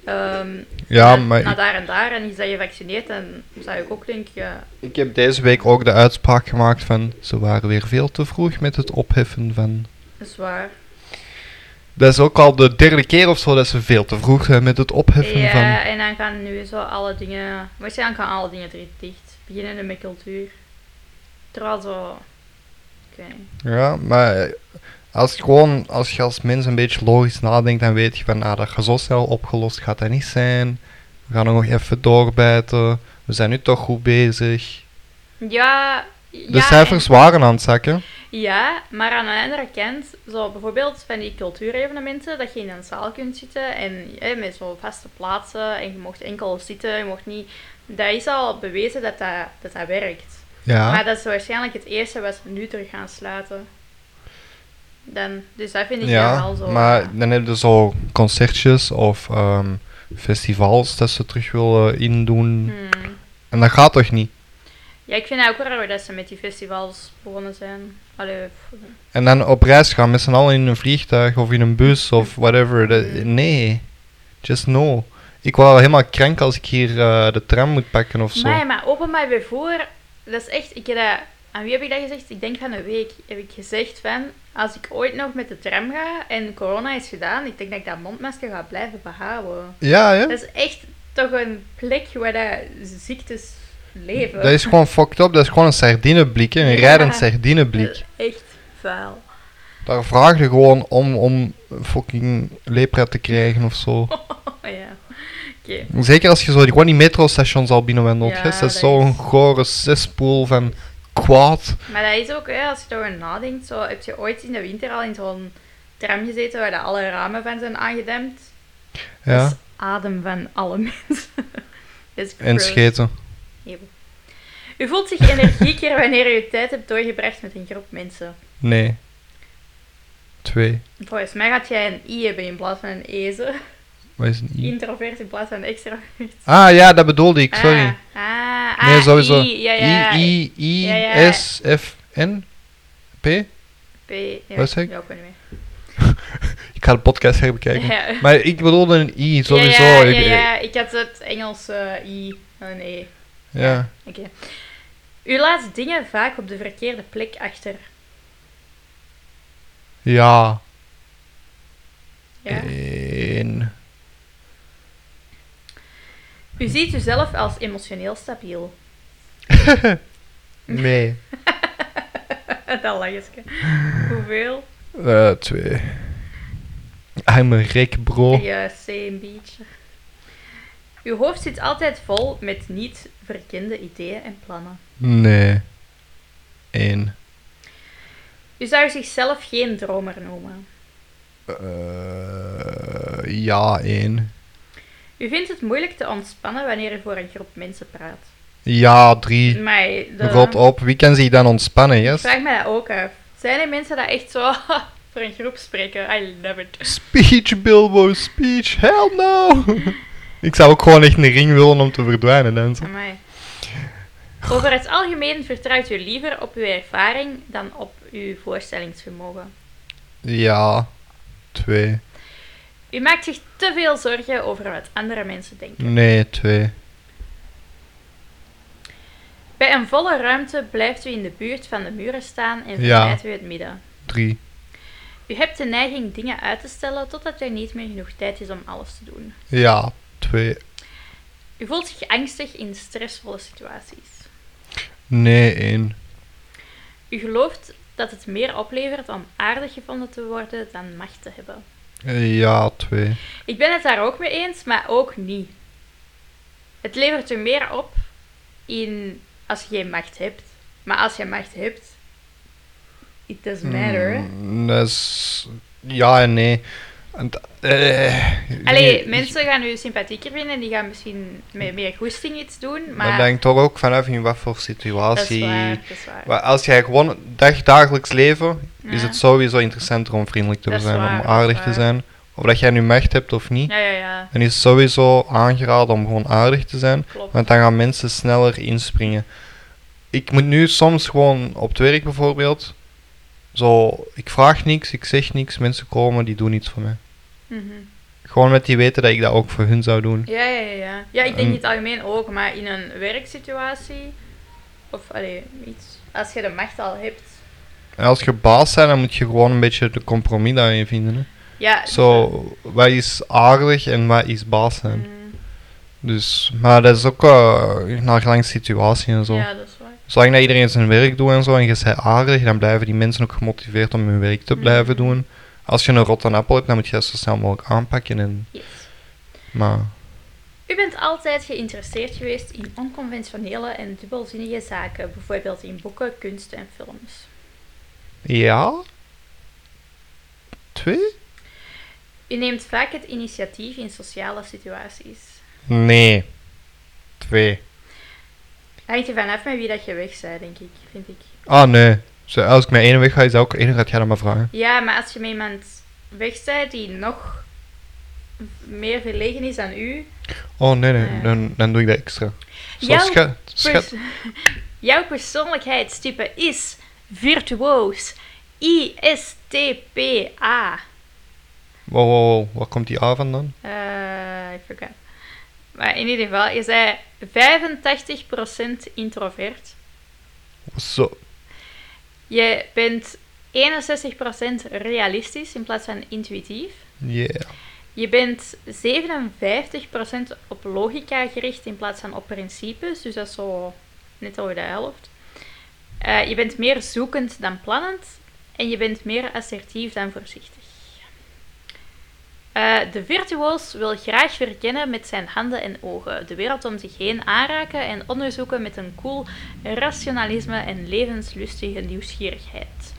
ehm, Ja, na- maar na ik- daar en daar en is dat je vaccineert, dan zou ik ook denken. ja, ik heb deze week ook de uitspraak gemaakt van, ze waren weer veel te vroeg met het opheffen van dat is waar. Dat is ook al de derde keer of zo dat ze veel te vroeg zijn met het opheffen Ja, van. Eh, en dan gaan nu zo alle dingen. Waarschijnlijk gaan alle dingen drie dicht. Beginnende met cultuur. Terwijl zo. Ik weet niet. Ja, maar eh, als, je gewoon, als je als mens een beetje logisch nadenkt, dan weet je van ah, dat gaat zo snel opgelost gaat dat niet zijn. We gaan er nog even doorbijten. We zijn nu toch goed bezig. Ja. De cijfers waren aan het zakken. Ja, maar aan de andere kant, zo bijvoorbeeld van die cultuurevenementen, dat je in een zaal kunt zitten en hè, met zo'n vaste plaatsen en je mocht enkel zitten, je mocht niet. Dat is al bewezen dat dat, dat, dat werkt. Maar Ja. dat is waarschijnlijk het eerste wat ze nu terug gaan sluiten. Dan, dus dat vind ik dan Ja, wel zo. eh, ja. maar dan hebben ze zo concertjes of ehm, festivals dat ze terug willen indoen. Hmm. En dat gaat toch niet? Ja, ik vind het ook raar dat ze met die festivals begonnen zijn. Allee, pff, En dan op reis gaan met z'n allen in een vliegtuig of in een bus of whatever. dat- Mhm. nee, just no. Ik word al helemaal krank als ik hier eh, de tram moet pakken of zo. Maar, maar openbaar vervoer, dat is echt, ik heb dat, aan wie heb ik dat gezegd? Ik denk van een week heb ik gezegd van, als ik ooit nog met de tram ga en corona is gedaan, ik denk dat ik dat mondmasker ga blijven behouden. Ja, ja. Dat is echt toch een plek waar dat ziektes leven. Dat is gewoon fucked up. Dat is gewoon een sardineblik, hè. een Ja. Eh. rijdend sardineblik. is echt vuil. Daar vraag je gewoon om, om fucking lepra te krijgen of zo. Oh ja, oké. Zeker als je zo die- gewoon die metrostations al binnenwandelt. Ja, hè. dat dat is zo'n is- gore zespoel van kwaad. Maar dat is ook, hè, als je erover nadenkt, zo, heb je ooit in de winter al in zo'n tram gezeten waar dat alle ramen van zijn aangedempt? Ja. Dat is adem van alle mensen. Dat is en gross. scheten. U voelt zich energieker wanneer u tijd hebt doorgebracht met een groep mensen. Nee. Twee. Volgens mij gaat jij een I hebben in plaats van een Eze. Wat is een i? Introvert in plaats van extrovert. Ah ja, dat bedoelde ik, sorry. Ah, ah, Nee, sowieso. I, ja, ja. I, I, I, Ja, ja. S, F, N, P. P. Ja, Wat zeg ik? Ja, ik weet niet Ik ga de podcast meer. herbekijken. Ja. Maar ik bedoelde een I, sowieso. Ja, ja, Ik- ja, ja. Ik had het Engelse I en een E. ja. Oké. U laat dingen vaak op de verkeerde plek achter. Ja. Ja. Eh. En- U ziet uzelf als emotioneel stabiel. Nee. dat lachje. Hoeveel? Eh, twee. I'm a rek, bro. Ja, same beach. Uw hoofd zit altijd vol met niet verkende ideeën en plannen. Nee. Eén. U zou zichzelf geen dromer noemen. Eh, ja, één. U vindt het moeilijk te ontspannen wanneer u voor een groep mensen praat. Ja, drie. Maar de- Rot op. Wie kan zich dan ontspannen, ik yes? vraag me dat ook af. Zijn er mensen dat echt zo voor een groep spreken? I love it. Speech, Bilbo, speech, hell no! ik zou ook gewoon echt een ring willen om te verdwijnen, dan. zo. Amai. Over het algemeen vertrouwt u liever op uw ervaring dan op uw voorstellingsvermogen. Ja, twee. U maakt zich te veel zorgen over wat andere mensen denken. Nee, twee. Bij een volle ruimte blijft u in de buurt van de muren staan en Ja. vermijdt u het midden. Drie. U hebt de neiging dingen uit te stellen totdat er niet meer genoeg tijd is om alles te doen. Ja, twee. U voelt zich angstig in stressvolle situaties. Nee, één. U gelooft dat het meer oplevert om aardig gevonden te worden dan macht te hebben. Ja, twee. Ik ben het daar ook mee eens, maar ook niet. het levert je meer op in als je geen macht hebt. Maar als je macht hebt, it Hmm. doesn't matter. hè. Mm, dat is- ja en nee. En dat- eh, Allee, nee, mensen gaan u sympathieker vinden en die gaan misschien met meer goesting iets doen, Hmm. Dat maar hangt toch ook vanaf in wat voor dat is situatie. waar, dat is waar. Maar als jij gewoon dag, dagelijks leven, is Ja. het sowieso interessanter om vriendelijk te Dat is zijn, waar, dat om is aardig te waar. zijn. Of dat jij nu macht hebt of niet. Ja, ja, ja, Dan is het sowieso aangeraden om gewoon aardig te zijn. klopt. Want dan gaan mensen sneller inspringen. Ik moet nu soms gewoon op het werk bijvoorbeeld. Zo, ik vraag niks, ik zeg niks, mensen komen, die doen iets voor mij. Mhm. Gewoon met die weten dat ik dat ook voor hun zou doen. Ja, ja, ja, ja. Ja, ik En- denk in het algemeen ook, maar in een werksituatie, of allee, iets, als je de macht al hebt. En als je baas bent, dan moet je gewoon een beetje de compromis daarin vinden. hè. Ja, dus Zo, wat is aardig en wat is baas zijn. mm, Dus, maar dat is ook eh, naar gelang situatie en zo. ja, dat is waar. Zolang dat iedereen zijn werk doet en zo en je bent aardig, dan blijven die mensen ook gemotiveerd om hun werk te Mhm. blijven doen. Als je een rotte appel hebt, dan moet je dat zo snel mogelijk aanpakken. En, Yes. maar U bent altijd geïnteresseerd geweest in onconventionele en dubbelzinnige zaken, bijvoorbeeld in boeken, kunst en films. ja. Twee? U neemt vaak het initiatief in sociale situaties. Nee. Twee. Hangt er vanaf met wie dat je weg bent, denk ik, vind ik. Ah nee. Zo, als ik met één weg ga, is dat ook één gaat jij dat maar vragen. Ja, maar als je met iemand weg bent die nog meer verlegen is dan u, Oh nee, nee. Nee. Dan, dan doe ik dat extra. Zo, Jouw schat, schat. Pers- Jouw persoonlijkheidstype is virtuoos. ISTPA. Wow, wow, wow. Waar komt die A vandaan? Eh, ik vergat. Maar in ieder geval is hij 85% introvert. Zo. Je bent 61% realistisch in plaats van intuïtief. Yeah. Je bent 57% op logica gericht in plaats van op principes, dus dat is zo net over de helft. Eh, je bent meer zoekend dan plannend en je bent meer assertief dan voorzichtig. Eh, de virtuoos wil graag verkennen met zijn handen en ogen, de wereld om zich heen aanraken en onderzoeken met een cool rationalisme en levenslustige nieuwsgierigheid.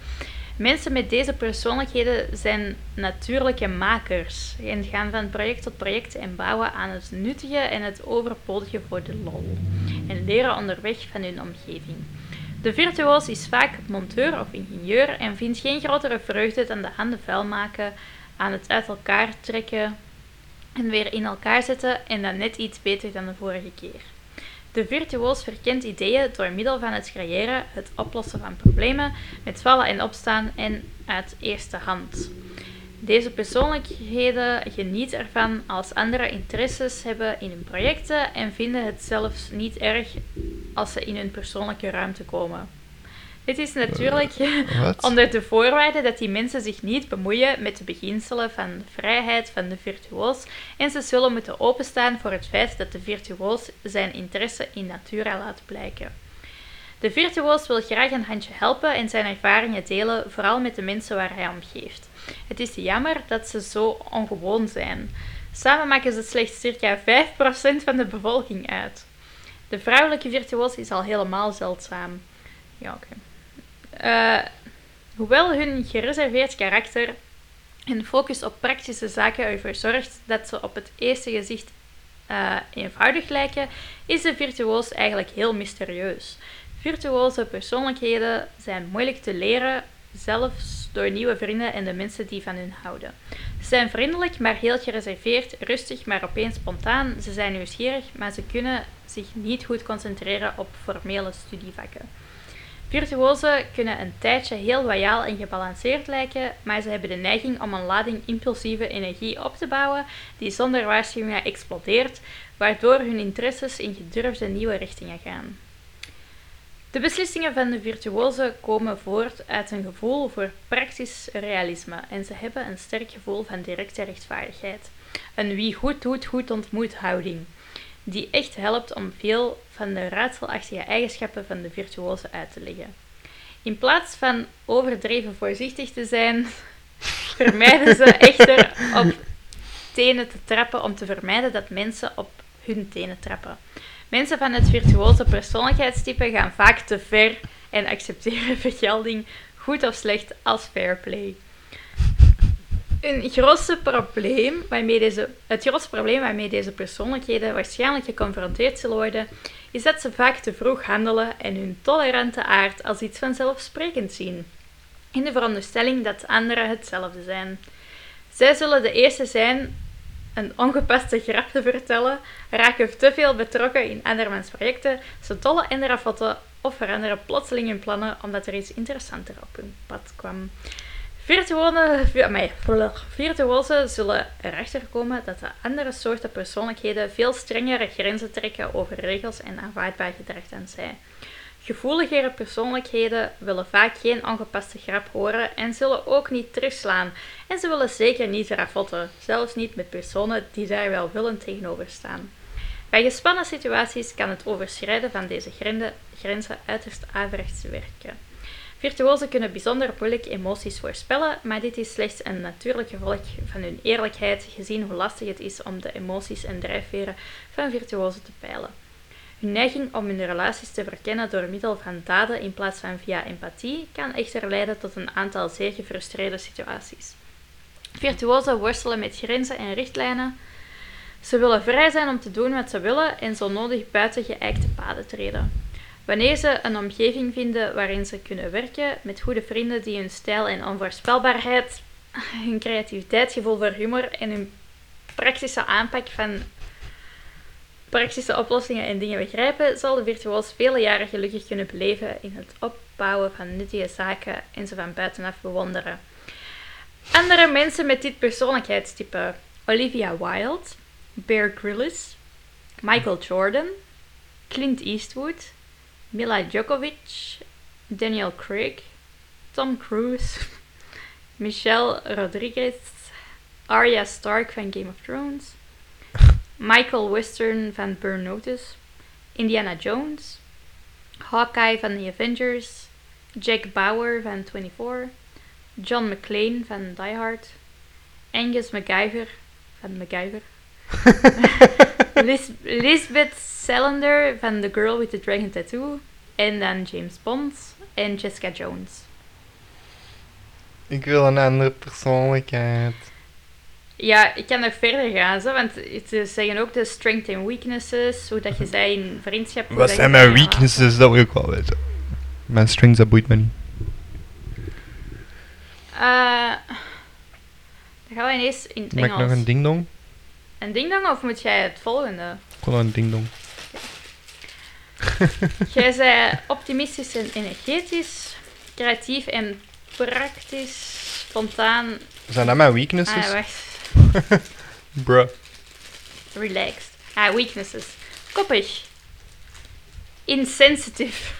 Mensen met deze persoonlijkheden zijn natuurlijke makers en gaan van project tot project en bouwen aan het nuttige en het overbodige voor de lol. En leren onderweg van hun omgeving. De virtuoos is vaak monteur of ingenieur en vindt geen grotere vreugde dan de handen vuil maken, aan het uit elkaar trekken en weer in elkaar zetten en dan net iets beter dan de vorige keer. De virtuoos verkent ideeën door middel van het creëren, het oplossen van problemen, met vallen en opstaan en uit eerste hand. Deze persoonlijkheden genieten ervan als anderen interesses hebben in hun projecten en vinden het zelfs niet erg als ze in hun persoonlijke ruimte komen. Dit is natuurlijk Wat? onder de voorwaarde dat die mensen zich niet bemoeien met de beginselen van de vrijheid van de virtuoos en ze zullen moeten openstaan voor het feit dat de virtuoos zijn interesse in natura laat blijken. De virtuoos wil graag een handje helpen en zijn ervaringen delen, vooral met de mensen waar hij om geeft. Het is jammer dat ze zo ongewoon zijn. Samen maken ze slechts circa 5% van de bevolking uit. De vrouwelijke virtuoos is al helemaal zeldzaam. Ja, oké. Eh, hoewel hun gereserveerd karakter en focus op praktische zaken ervoor zorgt dat ze op het eerste gezicht eh, eenvoudig lijken, is de virtuoos eigenlijk heel mysterieus. Virtuoze persoonlijkheden zijn moeilijk te leren, zelfs door nieuwe vrienden en de mensen die van hun houden. Ze zijn vriendelijk, maar heel gereserveerd, rustig, maar opeens spontaan. Ze zijn nieuwsgierig, maar ze kunnen zich niet goed concentreren op formele studievakken. Virtuozen kunnen een tijdje heel loyaal en gebalanceerd lijken, maar ze hebben de neiging om een lading impulsieve energie op te bouwen die zonder waarschuwing explodeert, waardoor hun interesses in gedurfde nieuwe richtingen gaan. De beslissingen van de virtuozen komen voort uit een gevoel voor praktisch realisme en ze hebben een sterk gevoel van directe rechtvaardigheid. Een wie goed doet, goed ontmoet houding, die echt helpt om veel van de raadselachtige eigenschappen van de virtuozen uit te leggen. In plaats van overdreven voorzichtig te zijn, vermijden ze echter op tenen te trappen om te vermijden dat mensen op hun tenen trappen. Mensen van het virtuoze persoonlijkheidstype gaan vaak te ver en accepteren vergelding, goed of slecht, als fair play. Een grootste probleem waarmee deze, het grootste probleem waarmee deze persoonlijkheden waarschijnlijk geconfronteerd zullen worden, is dat ze vaak te vroeg handelen en hun tolerante aard als iets vanzelfsprekend zien, in de veronderstelling dat anderen hetzelfde zijn. Zij zullen de eerste zijn een ongepaste grap te vertellen, raken te veel betrokken in andermans projecten, ze tollen en ravotten of veranderen plotseling hun plannen omdat er iets interessanter op hun pad kwam. Virtuoze, amai, blur. virtuozen zullen erachter komen dat de andere soorten persoonlijkheden veel strengere grenzen trekken over regels en aanvaardbaar gedrag dan zij. Gevoeligere persoonlijkheden willen vaak geen ongepaste grap horen en zullen ook niet terugslaan. En ze willen zeker niet ravotten, zelfs niet met personen die daar wel willen tegenover staan. Bij gespannen situaties kan het overschrijden van deze grende- grenzen uiterst averechts werken. Virtuozen kunnen bijzonder moeilijk emoties voorspellen, maar dit is slechts een natuurlijk gevolg van hun eerlijkheid, gezien hoe lastig het is om de emoties en drijfveren van virtuozen te peilen. Hun neiging om hun relaties te verkennen door middel van daden in plaats van via empathie kan echter leiden tot een aantal zeer gefrustreerde situaties. Virtuozen worstelen met grenzen en richtlijnen. Ze willen vrij zijn om te doen wat ze willen en zo nodig buiten geëikte paden treden. Wanneer ze een omgeving vinden waarin ze kunnen werken met goede vrienden die hun stijl en onvoorspelbaarheid, hun creativiteit, gevoel voor humor en hun praktische aanpak van praktische oplossingen en dingen begrijpen, zal de virtuoos vele jaren gelukkig kunnen beleven in het opbouwen van nuttige zaken en ze van buitenaf bewonderen. Andere mensen met dit persoonlijkheidstype: Olivia Wilde, Bear Grylls, Michael Jordan, Clint Eastwood, Mila Djokovic, Daniel Craig, Tom Cruise, Michelle Rodriguez, Arya Stark van Game of Thrones, Michael Western van Burn Notice, Indiana Jones, Hawkeye van The Avengers, Jack Bauer van 24, John McClane van Die Hard, Angus MacGyver van MacGyver, Lis- Lisbeth Salander van The Girl with the Dragon Tattoo, en dan James Bond en Jessica Jones. Ik wil een andere persoonlijkheid. Ja, ik kan nog verder gaan, zo, want ze zeggen ook de strengths en weaknesses, hoe dat je zij in vriendschap... hoe Mhm. Wat dat zijn je mijn zij in weaknesses? Dat wil ik wel weten. Mijn strengths, dat boeit me niet. Eh, dan gaan we ineens in het Maak ik Engels. nog een ding-dong? Een ding-dong of moet jij het volgende? Ik wil nog een ding-dong. jij zei optimistisch en energetisch, creatief en praktisch, spontaan... Zijn dat mijn weaknesses? Ah, wacht. Bruh. Relaxed. Ah, weaknesses. Koppig. Insensitive.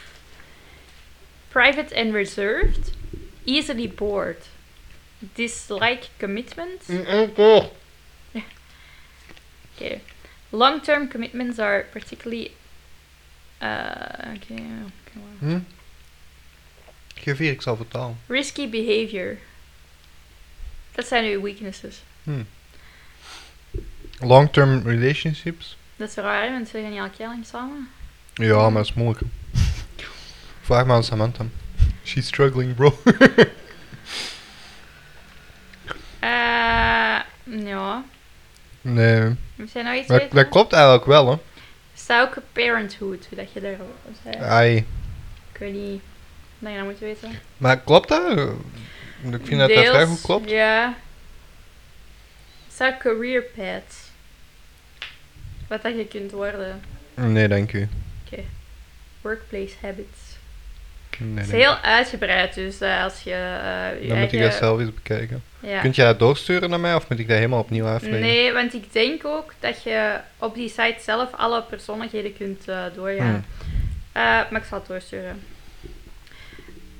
Private and reserved. Easily bored. Dislike commitment. Okay. Long term commitments are particularly. Uh, okay. okay, wow. Hm? Geef hier, ik zal vertalen. Risky behavior. Dat zijn uw weaknesses. Hm. Long-term relationships? Dat is raar, want ze gaan niet al heel lang samen. Ja, maar dat is moeilijk. Vraag maar aan Samantha. She's struggling, bro. Eh, ja. Nee, Moet jij nou iets dat, weten? dat klopt eigenlijk wel, hè. Stalker Parenthood, hoe dat je daarover zei. Ai. Ik weet niet. Ik denk dat je dat moet weten. Maar klopt dat? Ik vind dat dat vrij Deels, goed klopt. Ja. Zou career path. Wat dat je kunt worden. Nee, dank u. Workplace habits. Nee, Het is dank u. heel uitgebreid, dus eh, als je eh, je Dan moet ik dat eigen- zelf eens bekijken. Ja. Kunt jij dat doorsturen naar mij of moet ik dat helemaal opnieuw afleggen? Nee, want ik denk ook dat je op die site zelf alle persoonlijkheden kunt eh, doorgaan. Hmm. Eh, maar ik zal het doorsturen.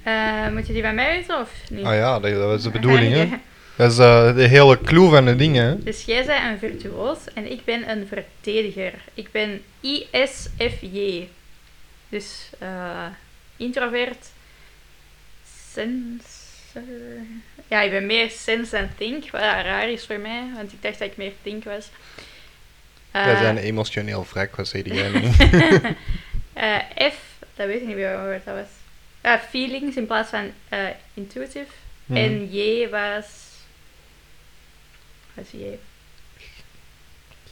Eh, moet je die bij mij weten of niet? Ah ja, dat, dat is de bedoeling, hè. Oké. Dat is eh, de hele clue van de dingen, hè. Dus jij bent een virtuoos en ik ben een verdediger. Ik ben ISFJ. Dus eh, introvert, sensor. Ja, ik ben meer sense dan think, wat raar is voor mij, want ik dacht dat ik meer think was. Dat is Eh, een emotioneel wrak, wat zei die Eh, F, dat weet ik niet meer wat dat was. Eh, feelings in plaats van eh, intuitive. Mhm. En J was. Wat is J?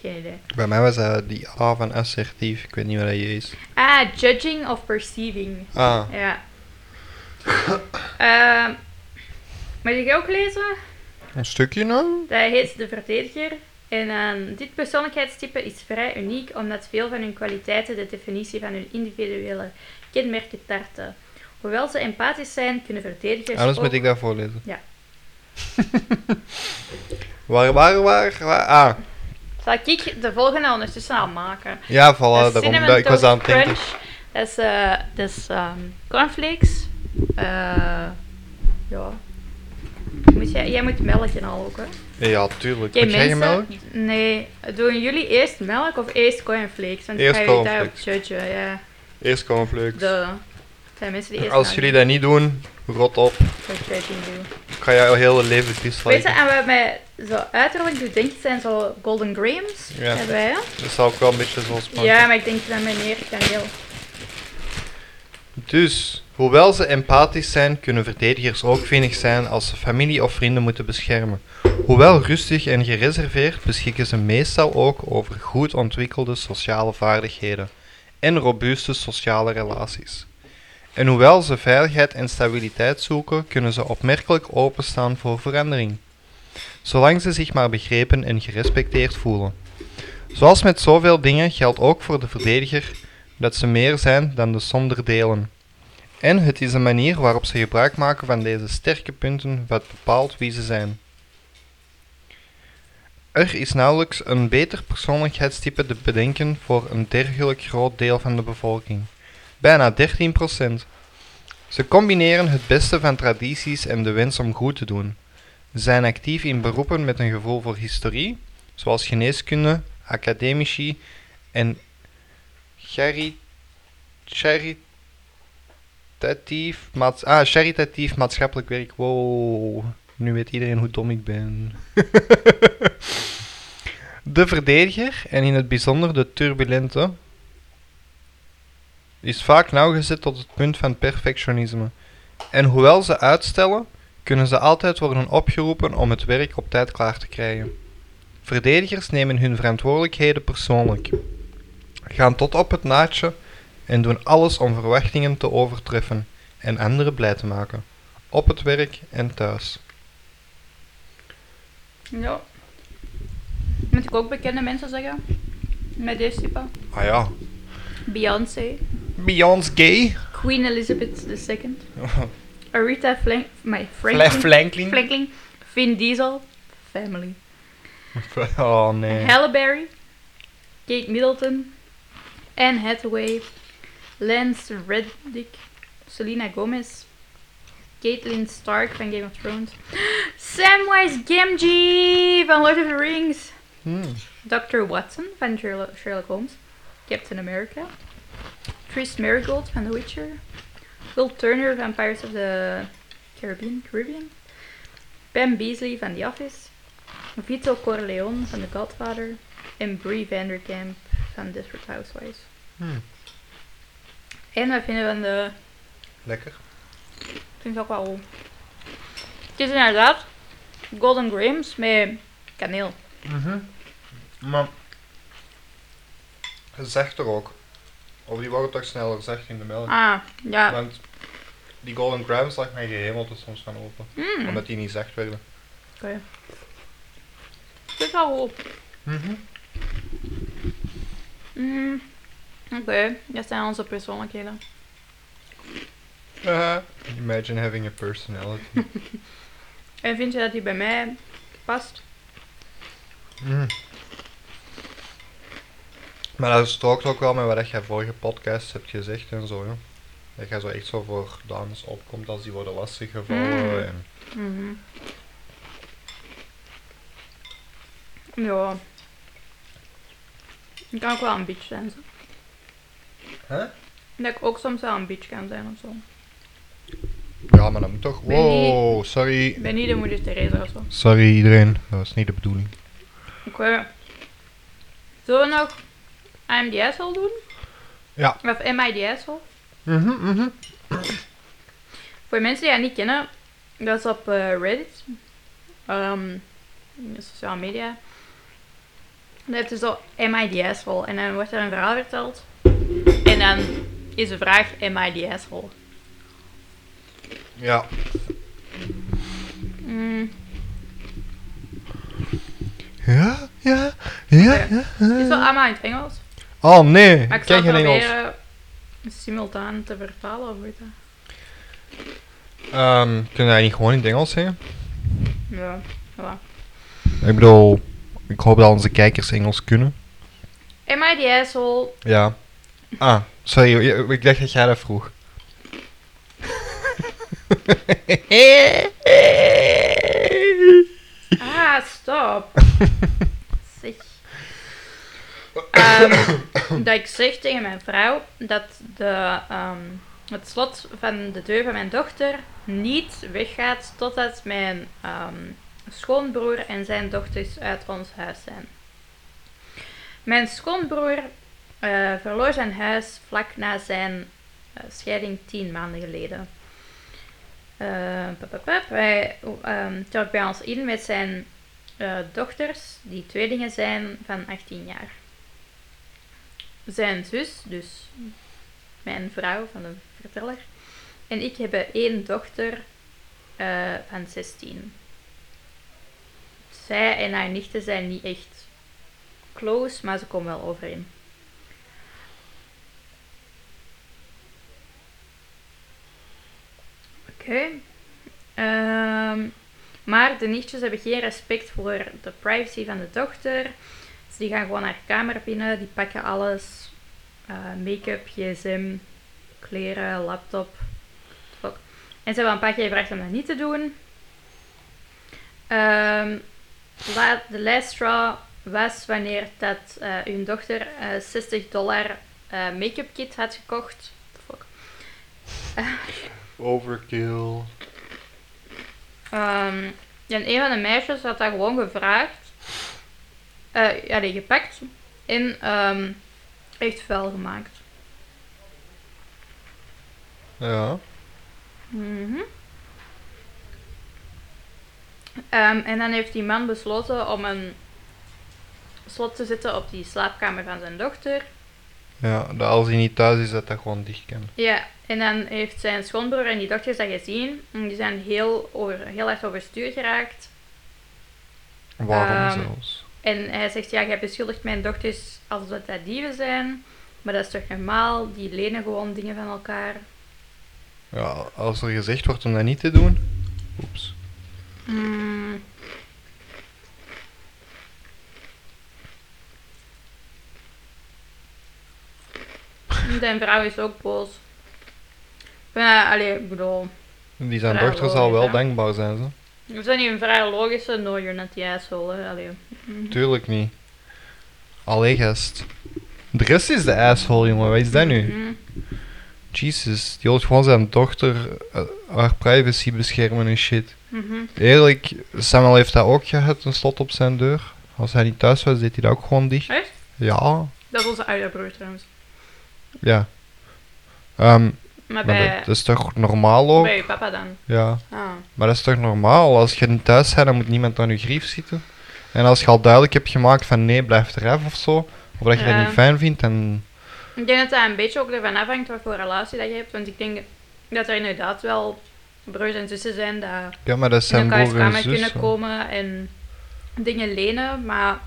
Geen idee. Bij mij was dat die A van assertief, ik weet niet wat dat je is. Ah, judging of perceiving. Ah, Ja. Ehm moet ik ook lezen? een stukje nou? Dat heet De Verdediger. En ehm, dit persoonlijkheidstype is vrij uniek omdat veel van hun kwaliteiten de definitie van hun individuele kenmerken tarten. Hoewel ze empathisch zijn, kunnen verdedigers Anders ook... moet ik dat voorlezen. Ja. waar, waar, waar, waar? Ah, Zal ik de volgende ondertussen al maken? ja, voilà, dat is daarom. cinnamon dat- Ik was toast aan het denken. crunch. Dat is, eh, dat is ehm, cornflakes. Eh, ja. Moet jij, jij moet melken al ook, hè? Ja, tuurlijk. Oké, Moet jij mensen, melk? Nee. Doen jullie eerst melk of eerst cornflakes? Want Eerst ik ga jullie daarop cornflakes. judgen, ja. Eerst cornflakes. De, zijn mensen die eerst Als jullie dat niet doen, rot op. melk of judging doen. Ik ga jouw hele leven Weet je, disliken. en wat mij zo uiterlijk doet denken zijn zo golden grams. Ja. Hebben wij, hè? Dat zou ik wel een beetje zo smaken. Ja, maar ik denk dat meneer kaneel. Dus, hoewel ze empathisch zijn, kunnen verdedigers ook vinnig zijn als ze familie of vrienden moeten beschermen. Hoewel rustig en gereserveerd, beschikken ze meestal ook over goed ontwikkelde sociale vaardigheden en robuuste sociale relaties. En hoewel ze veiligheid en stabiliteit zoeken, kunnen ze opmerkelijk openstaan voor verandering. Zolang ze zich maar begrepen en gerespecteerd voelen. Zoals met zoveel dingen geldt ook voor de verdediger dat ze meer zijn dan de som der delen. En het is een manier waarop ze gebruik maken van deze sterke punten wat bepaalt wie ze zijn. Er is nauwelijks een beter persoonlijkheidstype te bedenken voor een dergelijk groot deel van de bevolking. Bijna 13%. Ze combineren het beste van tradities en de wens om goed te doen. Ze zijn actief in beroepen met een gevoel voor historie, zoals geneeskunde, academici en Chari- charitatief, maats ah, charitatief maatschappelijk werk. Wow, nu weet iedereen hoe dom ik ben. de verdediger, en in het bijzonder de turbulente, is vaak nauwgezet tot het punt van perfectionisme. En hoewel ze uitstellen, kunnen ze altijd worden opgeroepen om het werk op tijd klaar te krijgen. Verdedigers nemen hun verantwoordelijkheden persoonlijk gaan tot op het naadje en doen alles om verwachtingen te overtreffen en anderen blij te maken. Op het werk en thuis. Ja. Moet ik ook bekende mensen zeggen? Met deze type. Ah ja. Beyoncé. Beyoncé gay. Queen Elizabeth II. Aretha Flank... My Franklin. Flanklin. Franklin. Vin Diesel. Family. Oh nee. Halle Berry. Kate Middleton. Anne Hathaway. Lance Reddick. Selena Gomez. Caitlyn Stark van Game of Thrones. Samwise Gamgee van Lord of the Rings. Hmm. Dr. Watson van Sherlo- Sherlock Holmes, Captain America, Tris Marigold van The Witcher, Will Turner van Pirates of the Caribbean, Caribbean Pam Beasley van The Office, Vito Corleone van The Godfather en Brie Vanderkamp van Desperate Housewives. Hmm. En wat vinden we van de... Lekker. Ik vind het ook wel goed. Het is inderdaad Golden Grams met kaneel. Maar zachter ook. Of die worden toch sneller zacht in de melk. Ah, ja. Want die Golden Grams lag mij gehemelte soms van open. Mm. Omdat die niet zacht werden. Oké. Het is wel goed. Mm. Oké, dat zijn onze persoonlijkheden. Haha. Imagine having a personality. En vind je dat die bij mij past? Mm. Maar dat strookt ook wel met wat dat jij vorige podcast hebt gezegd en zo, ja. Dat jij zo echt zo voor dames opkomt als die worden lastiggevallen. Mm. En... Ja. Ik kan ook wel een bitch zijn. Zo. Hè? Dat ik ook soms wel een bitch kan zijn of zo. Ja, maar dat moet toch... Ben je- Wow, Ik sorry. ben niet de moeder Theresa of zo. Sorry iedereen, dat was niet de bedoeling. Oké. Zullen we nog I'm the asshole doen? Ja. Of Am I the asshole? Mhm, mhm. Voor mensen die dat niet kennen, dat is op eh, Reddit, Ehm sociale media. Dan heb je zo Am I the asshole? En dan wordt er een verhaal verteld. En dan is de vraag Am I the asshole? Ja. Mm, Ja, ja, ja, ja. het is wel allemaal in het Engels. Oh nee, Maar ik ik zal ken het geen Engels. proberen simultaan te vertalen. Of hoe heet dat? Ehm kunnen wij niet gewoon in het Engels zeggen? Ja, voilà. Ik bedoel, ik hoop dat onze kijkers Engels kunnen. Am I the asshole? Ja. Ah, sorry, je- ik dacht dat jij dat vroeg. Ah, stop. zeg. Ehm, dat ik zeg tegen mijn vrouw dat de, ehm, het slot van de deur van mijn dochter niet weggaat totdat mijn ehm, schoonbroer en zijn dochters uit ons huis zijn. Mijn schoonbroer eh, verloor zijn huis vlak na zijn eh, scheiding tien maanden geleden. Eh, pap, pap, pap. Hij ehm, trok bij ons in met zijn eh, dochters, die tweelingen zijn van 18 jaar. Zijn zus, dus mijn vrouw van de verteller, en ik hebben één dochter eh, van 16. Zij en haar nichten zijn niet echt close, maar ze komen wel overeen. Oké. Ehm, maar de nichtjes hebben geen respect voor de privacy van de dochter. Dus die gaan gewoon haar kamer binnen, die pakken alles. Eh, Make-up, gsm, kleren, laptop. Fuck. En ze hebben een paar keer gevraagd om dat niet te doen. Ehm, la- de last straw was wanneer dat eh, hun dochter eh, 60 dollar eh, make-up kit had gekocht. Fuck. Overkill. Ehm, en een van de meisjes had dat gewoon gevraagd. eh ja, nee, gepakt. En ehm, echt vuil gemaakt. Ja. Mhm. Ehm, en dan heeft die man besloten om een slot te zetten op die slaapkamer van zijn dochter. Ja, dat als hij niet thuis is, dat dat gewoon dicht kan. Ja, en dan heeft zijn schoonbroer en die dochters dat gezien. En die zijn heel, over, heel erg overstuur geraakt. Waarom Ehm, zelfs? En hij zegt, ja, jij beschuldigt mijn dochters alsof dat dat dieven zijn. Maar dat is toch normaal? Die lenen gewoon dingen van elkaar. Ja, als er gezegd wordt om dat niet te doen. Oeps. Mm. Zijn vrouw is ook boos. Ja, allee, ik bedoel... Die zijn Ja, dochter zal logisch, wel hè. dankbaar zijn, ze. We zijn hier een vrij logische, no you're not the asshole, hè. Allee. Mhm. Tuurlijk niet. Allee, gast. De rest is de asshole, jongen. Wat is dat nu? Mhm. Jesus, die wil gewoon zijn dochter eh, haar privacy beschermen en shit. Mhm. Eerlijk, Samuel heeft dat ook gehad, een slot op zijn deur. Als hij niet thuis was, deed hij dat ook gewoon dicht. Echt? Ja, Dat is onze ouderbroer trouwens. ja. Ehm, Maar maar bij, dat, dat is toch normaal ook? bij je papa dan. Ja. Ah. Maar dat is toch normaal? Als je niet thuis bent, dan moet niemand aan je grief zitten. En als je al duidelijk hebt gemaakt van nee, blijf eraf of zo, of dat je Ja. dat niet fijn vindt, dan... Ik denk dat dat een beetje ook ervan afhangt wat voor relatie dat je hebt. Want ik denk dat er inderdaad wel broers en zussen zijn die Ja, maar dat in zijn elkaars broer en kamer zus. kunnen hè. komen en dingen lenen. Maar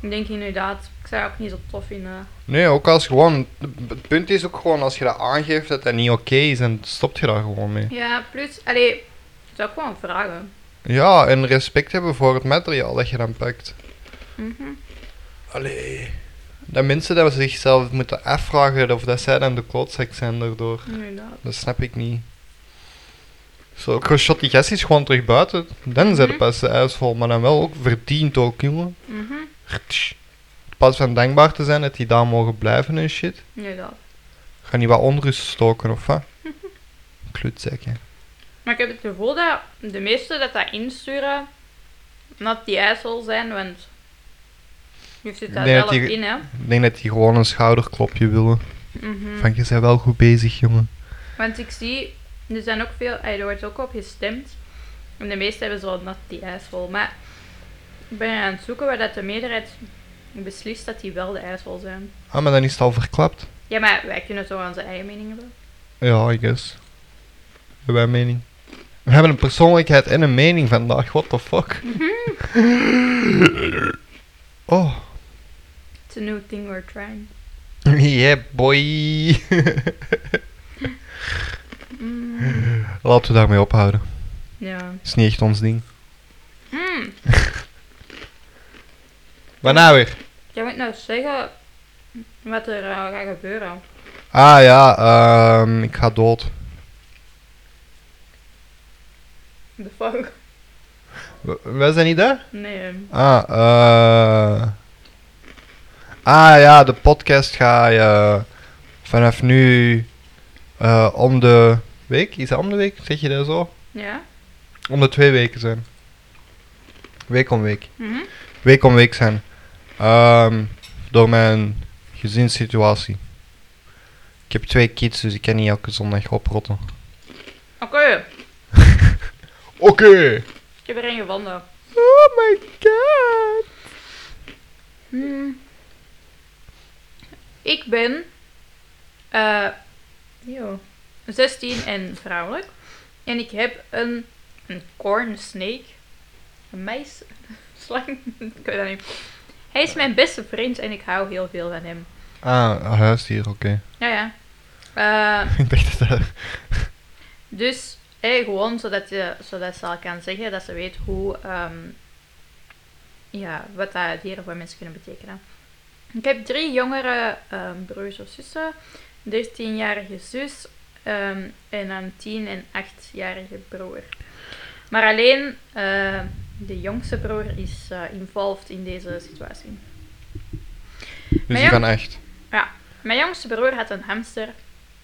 ik denk inderdaad, ik zou het ook niet zo tof vinden. Nee, ook als gewoon... Het punt is ook gewoon, als je dat aangeeft dat dat niet oké is, dan stop je daar gewoon mee. Ja, plus, allee, ik zou ook gewoon vragen. Ja, en respect hebben voor het materiaal dat je dan pakt. Mhm. Allee. Dat mensen dat ze zichzelf moeten afvragen of dat zij dan de klootzak zijn daardoor. Inderdaad. Dat snap ik niet. Zo, shot die gast is gewoon terug buiten. Dan zet Mhm. pas de ijsvol, maar dan wel ook verdiend ook, jongen. Mhm. Pas van dankbaar te zijn dat die daar mogen blijven en shit. Inderdaad. Ga niet wat onrust stoken of wat? Klutzak, hè. Maar ik heb het gevoel dat de meesten dat dat insturen, not die asshole zijn, want Nu zit Ik dat denk wel dat op die- in, hè. Ik denk dat die gewoon een schouderklopje willen. Mhm. Van, je bent wel goed bezig, jongen. Want ik zie, er zijn ook veel, ey, er wordt ook op gestemd. En de meesten hebben zo'n nat die ijsvol. Maar ik ben aan het zoeken waar dat de meerderheid beslist dat die wel de ijsvol zijn. Ah, maar dan is het al verklapt. Ja, maar wij kunnen toch onze eigen mening hebben? Ja, I guess. Bij mijn mening. We hebben een persoonlijkheid en een mening vandaag, what the fuck. oh, It's a new thing we're trying. yeah boy. Mm. Laten we daarmee ophouden. Ja. Is niet echt ons ding. Mm. Waar nou weer? Jij moet nou zeggen wat er eh, gaat gebeuren. Ah ja, ehm, ik ga dood. De fuck? W- Wij zijn niet daar? Nee. Ah, eh. Ah ja, de podcast ga je vanaf nu eh, om de week? Is dat om de week? Zeg je dat zo? Ja? Om de twee weken zijn. Week om week. Mhm. Week om week zijn. Ehm, door mijn gezinssituatie. Ik heb twee kids, dus ik kan niet elke zondag oprotten. Oké, Oké! ik heb er een gevonden. Oh my god! Hmm. Ik ben eh, yo, 16 en vrouwelijk. En ik heb een, een corn snake. Een meis. Slang. ik weet dat niet. Hij is mijn beste vriend en ik hou heel veel van hem. Ah, een huisdier, oké. Ja, ja. Eh, ik dacht dat dat... dus eh, gewoon zodat, je, zodat ze al kan zeggen dat ze weet hoe. ehm, ja, wat dat dieren voor mensen kunnen betekenen. Ik heb drie jongere ehm, broers of zussen, 13-jarige zus ehm, en een 10- en 8-jarige broer. Maar alleen eh, de jongste broer is eh, involved in deze situatie. Dus ja. die van echt. Mijn jongste broer had een hamster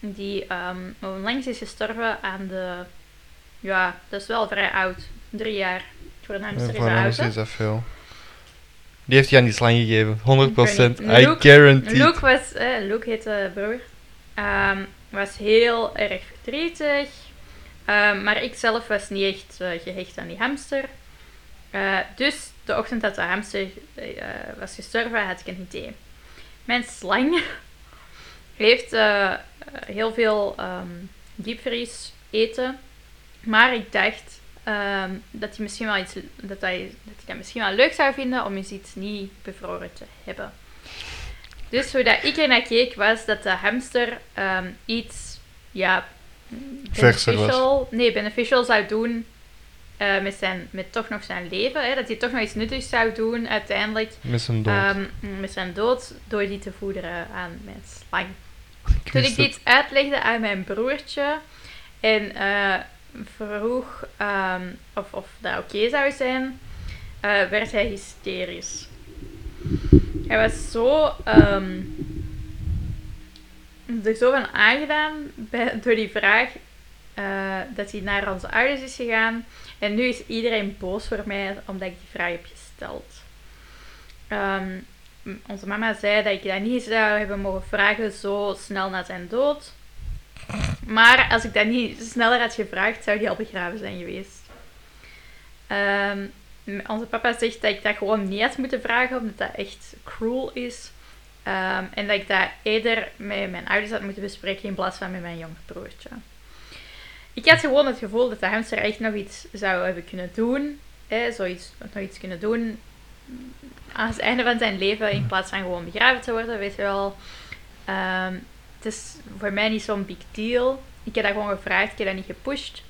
die ehm onlangs is gestorven aan de... Ja, dat is wel vrij oud. Drie jaar. Voor een hamster is Voor dat hem oud, is hè? dat veel. Die heeft hij aan die slang gegeven. 100%. Ik weet niet. I Luke- guarantee. Luke was... eh, Luke heet de broer. Ehm, was heel erg verdrietig. Ehm, maar ik zelf was niet echt eh, gehecht aan die hamster. Eh, dus de ochtend dat de hamster eh, was gestorven, had ik een idee. Mijn slang heeft eh, heel veel ehm diepvries eten. Maar ik dacht ehm, dat, hij misschien wel iets, dat, hij, dat hij dat misschien wel leuk zou vinden om eens iets niet bevroren te hebben. Dus hoe dat ik ernaar keek was dat de hamster ehm, iets ja, Verser was. beneficial, nee, beneficial zou doen eh, met, zijn, met toch nog zijn leven. Hè, dat hij toch nog iets nuttigs zou doen uiteindelijk Met zijn dood. ehm, met zijn dood door die te voederen aan mijn slang. Ik Toen ik wist het. dit uitlegde aan mijn broertje en eh, vroeg ehm, of, of dat oké zou zijn, eh, werd hij hysterisch. Hij was zo, ehm, er zo van aangedaan bij- door die vraag eh, dat hij naar onze ouders is gegaan. En nu is iedereen boos voor mij omdat ik die vraag heb gesteld. Ehm, M- Onze mama zei dat ik dat niet zou hebben mogen vragen zo snel na zijn dood. Maar als ik dat niet sneller had gevraagd, zou die al begraven zijn geweest. Ehm, m- onze papa zegt dat ik dat gewoon niet had moeten vragen, omdat dat echt cruel is. Ehm, en dat ik dat eerder met mijn ouders had moeten bespreken in plaats van met mijn jonge broertje. Ik had gewoon het gevoel dat de hamster echt nog iets zou hebben kunnen doen. Hè, zoiets, nog iets kunnen doen aan het einde van zijn leven in plaats van gewoon begraven te worden, weet je wel. Ehm, het is voor mij niet zo'n big deal. Ik heb dat gewoon gevraagd, ik heb dat niet gepusht.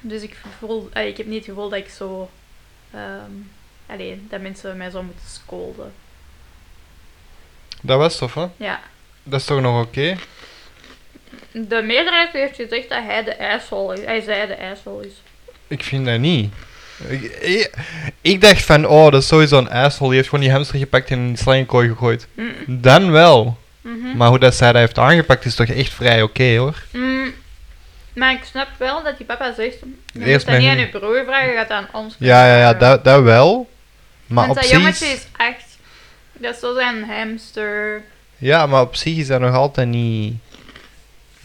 Dus ik, voel, eh, ik heb niet het gevoel dat ik zo... ehm alleen, dat mensen mij zo moeten scolden. Dat was tof, hè? Ja. Dat is toch nog oké? De meerderheid heeft gezegd dat hij de asshole is. Hij zei de asshole is. Ik vind dat niet. Ik, ik, ik dacht van, oh, dat is sowieso een asshole. Die heeft gewoon die hamster gepakt en in die slangkooi gegooid. Mm, Dan wel. mhm. Maar hoe dat zij dat heeft aangepakt is toch echt vrij oké, hoor. Mm, maar ik snap wel dat die papa zegt... Eerst Je moet dat niet mijn- aan je broer vragen, je gaat dat aan ons Ja, ja, ja, vragen." dat, dat wel. Maar Want op dat zich... jongetje is echt... Dat is zo zijn hamster. Ja, maar op zich is dat nog altijd niet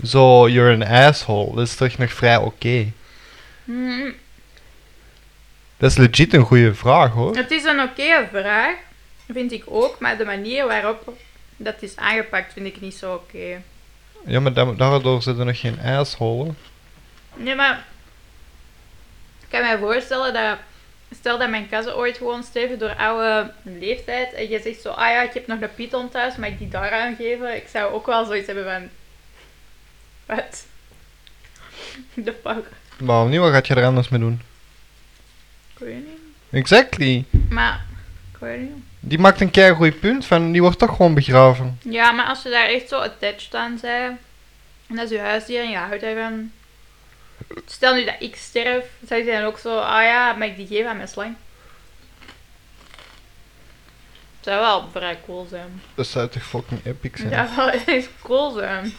zo, you're an asshole. Dat is toch nog vrij oké. Hmm, Dat is legit een goede vraag hoor. Het is een oké vraag, vind ik ook, maar de manier waarop dat is aangepakt vind ik niet zo oké. Ja, maar da- daardoor zit er nog geen asshole. Nee, maar ik kan mij voorstellen dat. Stel dat mijn kassen ooit gewoon sterven door oude leeftijd. En je zegt zo, ah ja, ik heb nog een python thuis, mag ik die daaraan geven? Ik zou ook wel zoiets hebben van... Wat? De fuck? Maar opnieuw, wat gaat je er anders mee doen? Ik weet niet. Exactly. Maar, ik weet niet. Die maakt een keer goed punt van, die wordt toch gewoon begraven. Ja, maar als je daar echt zo attached aan bent... En dat is je huisdier en je houdt daarvan... Stel nu dat ik sterf, zou je dan ook zo, ah ja, mag ik die geven aan mijn slang? Zou wel vrij cool zijn. Dat zou toch fucking epic zijn? Ja, wel echt cool zijn.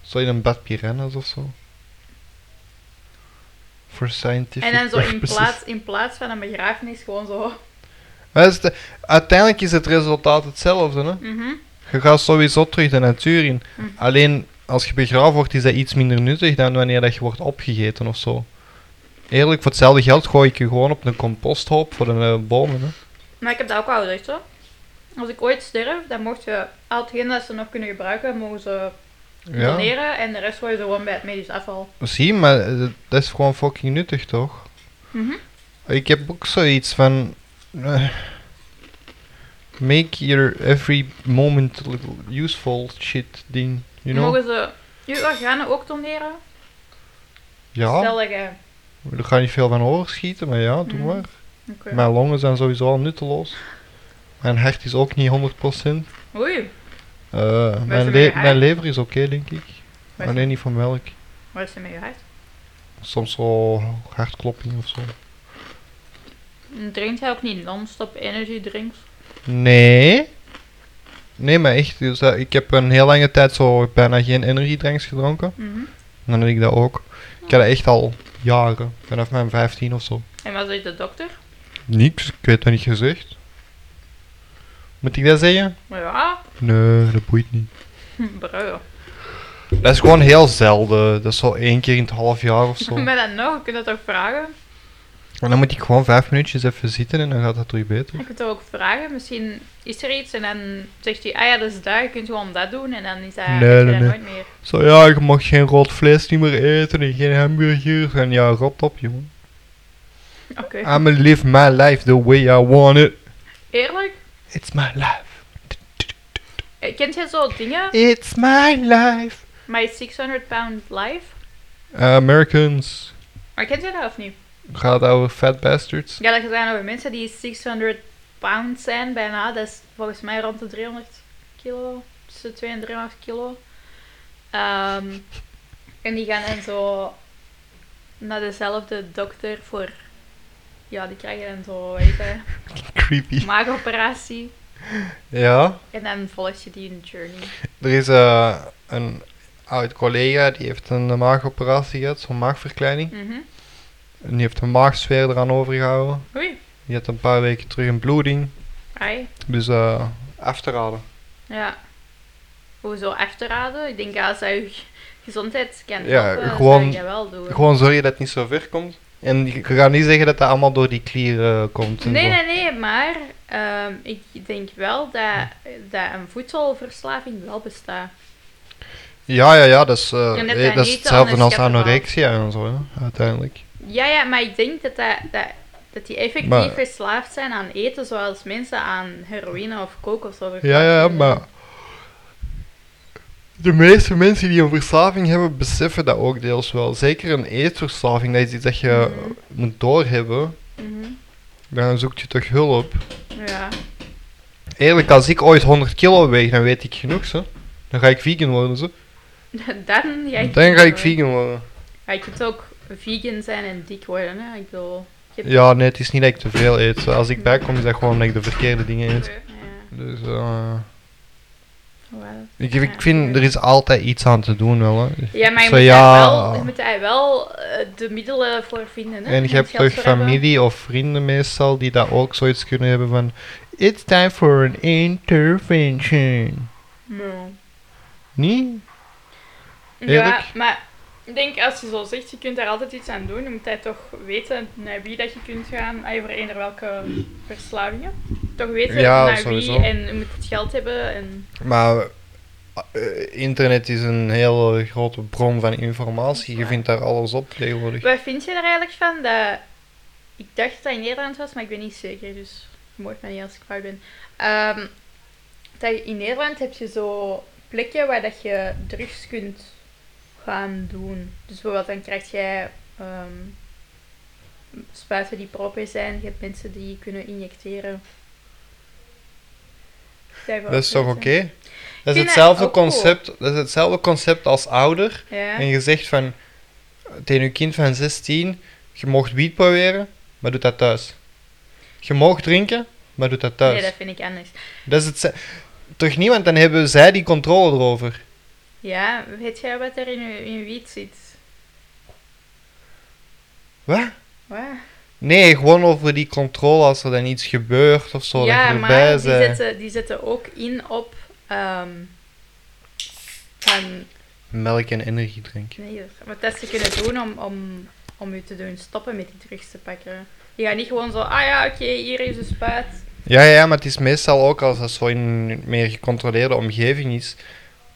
Zou je een bad piranhas of zo? Voor scientific En dan zo in purposes. plaats, in plaats van een begrafenis gewoon zo. Maar dat is de- uiteindelijk is het resultaat hetzelfde. Hè? Mhm. Je gaat sowieso terug de natuur in. Hm. Alleen als je begraven wordt, is dat iets minder nuttig dan wanneer dat je wordt opgegeten of zo. Eerlijk, voor hetzelfde geld gooi ik je gewoon op een composthoop voor de eh, bomen. Hè? Maar ik heb dat ook al gezegd hoor. Als ik ooit sterf, dan mocht je al hetgeen dat ze nog kunnen gebruiken, mogen ze Ja, doneren. En de rest gooi je gewoon bij het medisch afval. zie, maar eh, dat- dat is gewoon fucking nuttig toch? Mhm. Ik heb ook zoiets van. eh, make your every moment a little useful shit ding. You know? Mogen ze je organen ook doneren? Ja, Stel dat je... daar ga je niet veel van overschieten, maar ja, doe Mm. maar. Oké. Mijn longen zijn sowieso al nutteloos. Mijn hart is ook niet 100%. Oei, Eh mijn, met je le- hart? mijn lever is oké, denk ik. Waar is- Alleen niet van melk. wat is er met je hart? Soms zo hartklopping of zo. Drinkt hij ook niet non-stop energy drinks? Nee. Nee, maar echt. Dus, eh, ik heb een heel lange tijd zo bijna geen energiedranks gedronken. Mhm. Dan deed ik dat ook. Ik heb dat echt al jaren, vanaf mijn 15 of zo. En wat zegt de dokter? Niks, ik weet dat niet gezegd. Moet ik dat zeggen? Ja, Nee, dat boeit niet. hm, bro. Dat is gewoon heel zelden. Dat is zo één keer in het half jaar of zo. Maar dan nog, je kunt dat toch vragen? En dan moet ik gewoon vijf minuutjes even zitten en dan gaat dat terug beter. Je kunt dat ook vragen, misschien is er iets en dan zegt hij, ah ja, dat is daar, je kunt gewoon dat doen en dan is hij, Nee, heb je nee, dat nee. nooit meer. Zo ja, je mag geen rood vlees niet meer eten en geen hamburgers. En ja, rot op jongen. Oké. I'ma live my life the way I want it. Eerlijk? It's my life. Eh, Kent jij zo dingen? It's my life. My 600 pound life? Americans. Maar kent jij dat of niet? Gaat over fat bastards. Ja, dat zijn over mensen die 600 pound zijn bijna. Dat is volgens mij rond de 300 kilo. Tussen 2 en 300 kilo. Ehm, en die gaan dan zo naar dezelfde dokter voor... Ja, die krijgen dan zo, weet je, Creepy. maagoperatie. Ja, En dan volg je die in de journey. er is eh, een oud collega die heeft een eh, maagoperatie gehad, zo'n maagverkleining. Mhm. En die heeft een maagsfeer eraan overgehouden. Oei. Die had een paar weken terug een bloeding. Ai. Dus eh af te raden. Ja. Hoezo achterraden? Ik denk als hij je g- gezondheid kan Ja, helpen, gewoon- zou je dat wel doen. Gewoon zorg je dat het niet zo ver komt. En je gaat niet zeggen dat dat allemaal door die klieren eh, komt. en Nee, zo. nee, nee, maar ehm, ik denk wel dat, dat een voedselverslaving wel bestaat. Ja, ja, ja, dat is, eh, En dat eh, hij dat is niet hetzelfde als onderschatten was. anorexia en zo, hè, uiteindelijk. Ja, ja, maar ik denk dat, dat, dat, dat die effectief Maar- verslaafd zijn aan eten, zoals mensen aan heroïne of coke of zo. Ja, verslaafd ja, zijn. maar. De meeste mensen die een verslaving hebben, beseffen dat ook deels wel. Zeker een eetverslaving, dat is iets dat je Mhm. moet doorhebben. Mhm. Dan zoek je toch hulp. Ja. Eerlijk, als ik ooit 100 kilo weeg, dan weet ik genoeg, ze. Dan ga ik vegan worden, ze. Dan, ja, Dan ga ik vegan worden. Ja, je kunt ook vegan zijn en dik worden, hè. Ik bedoel... je hebt- Ja, nee, het is niet dat ik te veel eet. zo. Als ik bijkom, is dat gewoon dat ik de verkeerde dingen eet. Ja. Dus, eh... Wel, Dus, Ik, ja. ik vind, er is altijd iets aan te doen wel. Hè. Ja, maar je, Zo, moet, ja. daar wel, je moet daar wel eh, de middelen voor vinden. Hè? En Moet je hebt geld toch voor hebben. familie of vrienden meestal die dat ook zoiets kunnen hebben van... It's time for an intervention. No. Niet? Ja, Eerlijk? maar ik denk als je zo zegt, je kunt daar altijd iets aan doen. Je moet daar toch weten naar wie dat je kunt gaan, ah, voor eender welke verslavingen. Toch weten Ja, naar sowieso. wie en je moet het geld hebben. En... Maar eh, internet is een hele grote bron van informatie. Je vindt daar alles op tegenwoordig. Wat vind je er eigenlijk van? Dat... Ik dacht dat het in Nederland was, maar ik ben niet zeker, dus je mag mij niet als ik fout ben. Ehm, dat je- in Nederland heb je zo plekken waar dat je drugs kunt gaan doen. Dus bijvoorbeeld dan krijg jij ehm, spuiten die proper zijn, je hebt mensen die kunnen injecteren. Daarvoor Dat is toch oké? mensen. Dat, is vind dat hetzelfde ook cool. concept- dat is hetzelfde concept als ouder. Ja. En je zegt van tegen je kind van 16, je mocht wiet proberen, maar doe dat thuis. Je mag drinken, maar doe dat thuis. Nee, dat vind ik anders. dat is het. ze- Toch niet, want dan hebben zij die controle erover. Ja, weet jij wat er in je in je wiet zit? Wat? Wat? Nee, gewoon over die controle als er dan iets gebeurt of zo. ja, dat je maar erbij die bent. zetten, die zetten ook in op. ehm, van, Melk en energiedrink. nee, dat- wat dat ze kunnen doen om, om, om je te doen stoppen met die drugs te pakken. Je gaat niet gewoon zo, ah ja, oké, hier is de spuit. Ja, ja, maar het is meestal ook als dat zo in een meer gecontroleerde omgeving is,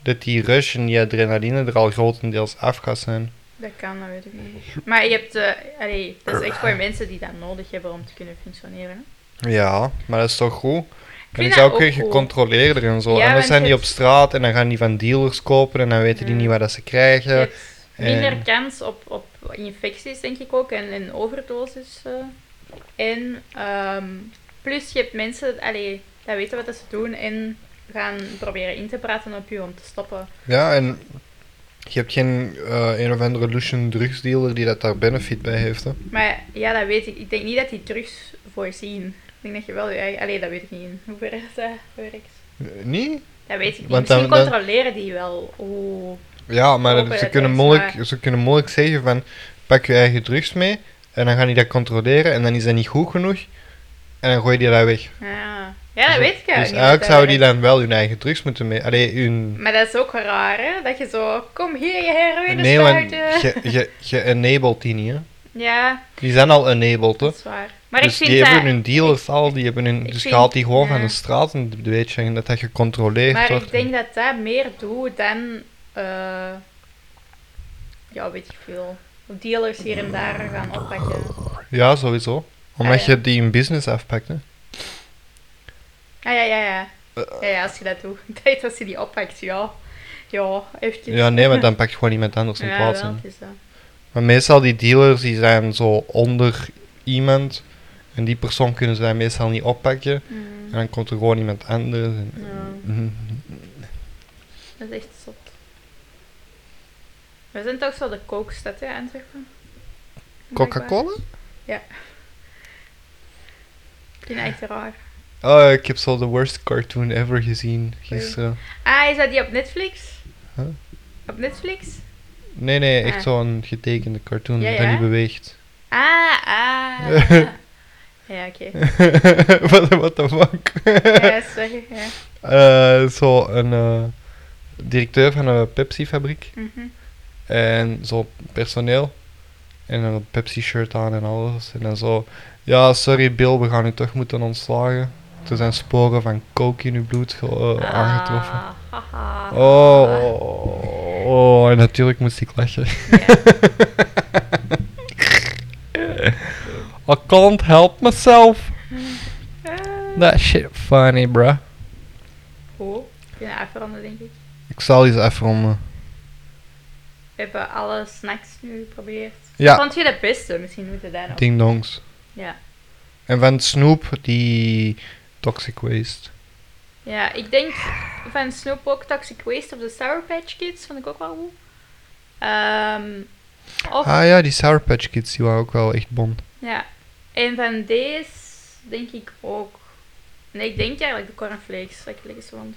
dat die rush en die adrenaline er al grotendeels af gaat zijn. Dat kan, dat weet ik niet. Maar je hebt, eh, allee, dat is echt voor mensen die dat nodig hebben om te kunnen functioneren. Ja, maar dat is toch goed? En vind is ook dat weer ook goed. gecontroleerder en zo. Ja, en dan want zijn je die op hebt- straat en dan gaan die van dealers kopen en dan weten die Mm. niet wat dat ze Je krijgen. hebt minder en- kans op, op infecties, denk ik ook, en, en overdoses. eh. En ehm, plus je hebt mensen allee, dat weten wat dat ze doen en gaan proberen in te praten op je om te stoppen. Ja, en je hebt geen eh, een of andere Lucian drugsdealer die dat daar benefit bij heeft. Hè. Maar ja, dat weet ik. Ik denk niet dat die drugs voorzien. Ik denk dat je wel je eigen... Allee, dat weet ik niet in hoeverre dat werkt. Eh, Niet? Dat weet ik niet. Want dan- Misschien dan- controleren die wel. Oeh. Ja, maar Kopen dat- ze, het kunnen is, moeilijk, maar- ze kunnen moeilijk zeggen van pak je eigen drugs mee en dan gaan die dat controleren en dan is dat niet goed genoeg en dan gooi je die dat weg. Ja, ja dat Dus- weet ik Dus eigenlijk niet eigenlijk dat zouden die werkt. dan wel hun eigen drugs moeten mee... Allee, hun... Maar dat is ook raar, hè? Dat je zo... Kom hier, je heroïne Nee, want spuiten." je, je, je enabled die niet, hè. Ja, Die zijn al enabled, hè. Dat is waar. Maar dus ik die vind dat... hebben hun dealers al, die hebben hun, ik dus je vind- haalt die gewoon van ja. de straat en weet je en dat dat gecontroleerd Maar wordt. ik denk dat dat meer doet dan... eh, ja, weet ik veel. Dealers hier en daar gaan oppakken. Ja, sowieso. Omdat Ah, ja. je die een business afpakt. Hè. Ah, ja, ja, ja. Ja, ja, als je dat doet. Ik denk als je die oppakt, ja. Ja, even. Ja, nee, maar dan pak je gewoon iemand anders in Ja, plaats. wel, hè. het is dat. Maar meestal die dealers die zijn zo onder iemand. En die persoon kunnen ze dan meestal niet oppakken. Mhm. En dan komt er gewoon iemand anders. En, Ja, dat is echt zot. We zijn toch zo de kookstad, hè, Antwerpen? Coca-Cola? Ik vind dat echt raar. Oh, ik heb zo de worst cartoon ever gezien gisteren. Ah, is dat die op Netflix? Huh? Op Netflix? Nee, nee, echt Ah. zo'n getekende cartoon Ja, dat ja? niet beweegt. Ah, ah. ja, oké. what, what the fuck? Ja, sorry. Ja. Eh, zo een eh, directeur van een Pepsi-fabriek Mhm. en zo personeel. En een Pepsi-shirt aan en alles. En dan zo, ja, sorry Bill, we gaan u toch moeten ontslagen. Er zijn sporen van coke in uw bloed ge- eh, aangetroffen. Ah, haha. Oh, oh, oh, oh, en natuurlijk moest ik lachen. Ja. I can't help myself. Ah. That shit funny, bruh. Goed. Ik ben afronden, denk ik. Ik zal iets afronden. We hebben alle snacks nu geprobeerd. Ja. Vond je de beste? Misschien moeten we daar nog. Ding dongs. Ja. En van Snoop, die Toxic Waste. ja, ik denk van Snoop ook Toxic Waste of de Sour Patch Kids. Vond ik ook wel goed. Ehm, of, Ah ja, die Sour Patch Kids, die waren ook wel echt bon. ja. En van deze denk ik ook. Nee, ik denk eigenlijk de cornflakes. Dat ik het lekkerste vond.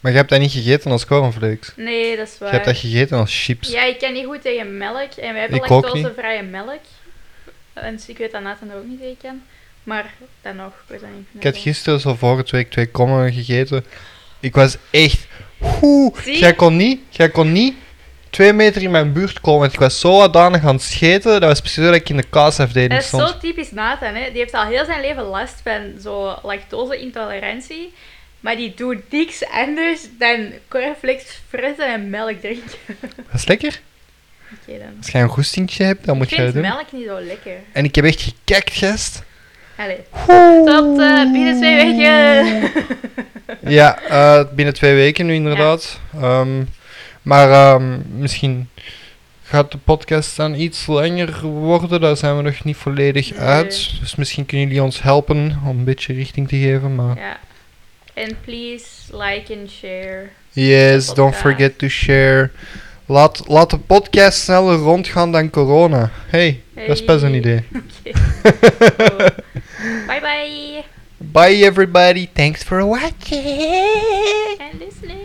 Maar je hebt dat niet gegeten als cornflakes. Nee, dat is Je waar. hebt dat gegeten als chips. Ja, ik kan niet goed tegen melk. En wij hebben Ik ook lactosevrije melk. En dus ik weet dat Nathan er ook niet tegen kan. Maar dan nog, ik weet dat niet. Ik had gisteren zo vorige week twee kommen gegeten. Ik was echt. Oeh, Zie? jij kon niet, jij kon niet twee meter in mijn buurt komen. Want ik was zo uitdanig aan het scheten. Dat was precies dat ik in de kaasafdeling Dat is stond. zo typisch Nathan, hè. Die heeft al heel zijn leven last van zo lactose-intolerantie. Maar die doet niks anders dan cornflakes fressen en melk drinken. Dat is lekker. Oké dan. Als je een goestingje hebt, dan moet ik je dat vind doen. melk niet zo lekker. En ik heb echt gekekt, gest. Allee, tot eh, binnen twee weken. Ja, eh, binnen twee weken nu inderdaad. Ehm, maar ehm, misschien gaat de podcast dan iets langer worden. Daar zijn we nog niet volledig Nee. uit. Dus misschien kunnen jullie ons helpen om een beetje richting te geven. Maar Ja. En please like and share. yes, De don't podcast. forget to share. Laat, laat de podcast sneller rondgaan dan corona. Hey, dat is pas een Hey. idee. Oké. bye bye. Bye everybody, thanks for watching. And listening.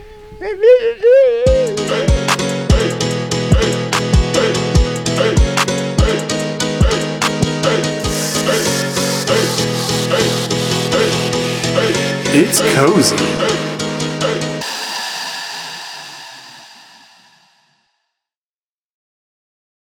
It's cozy.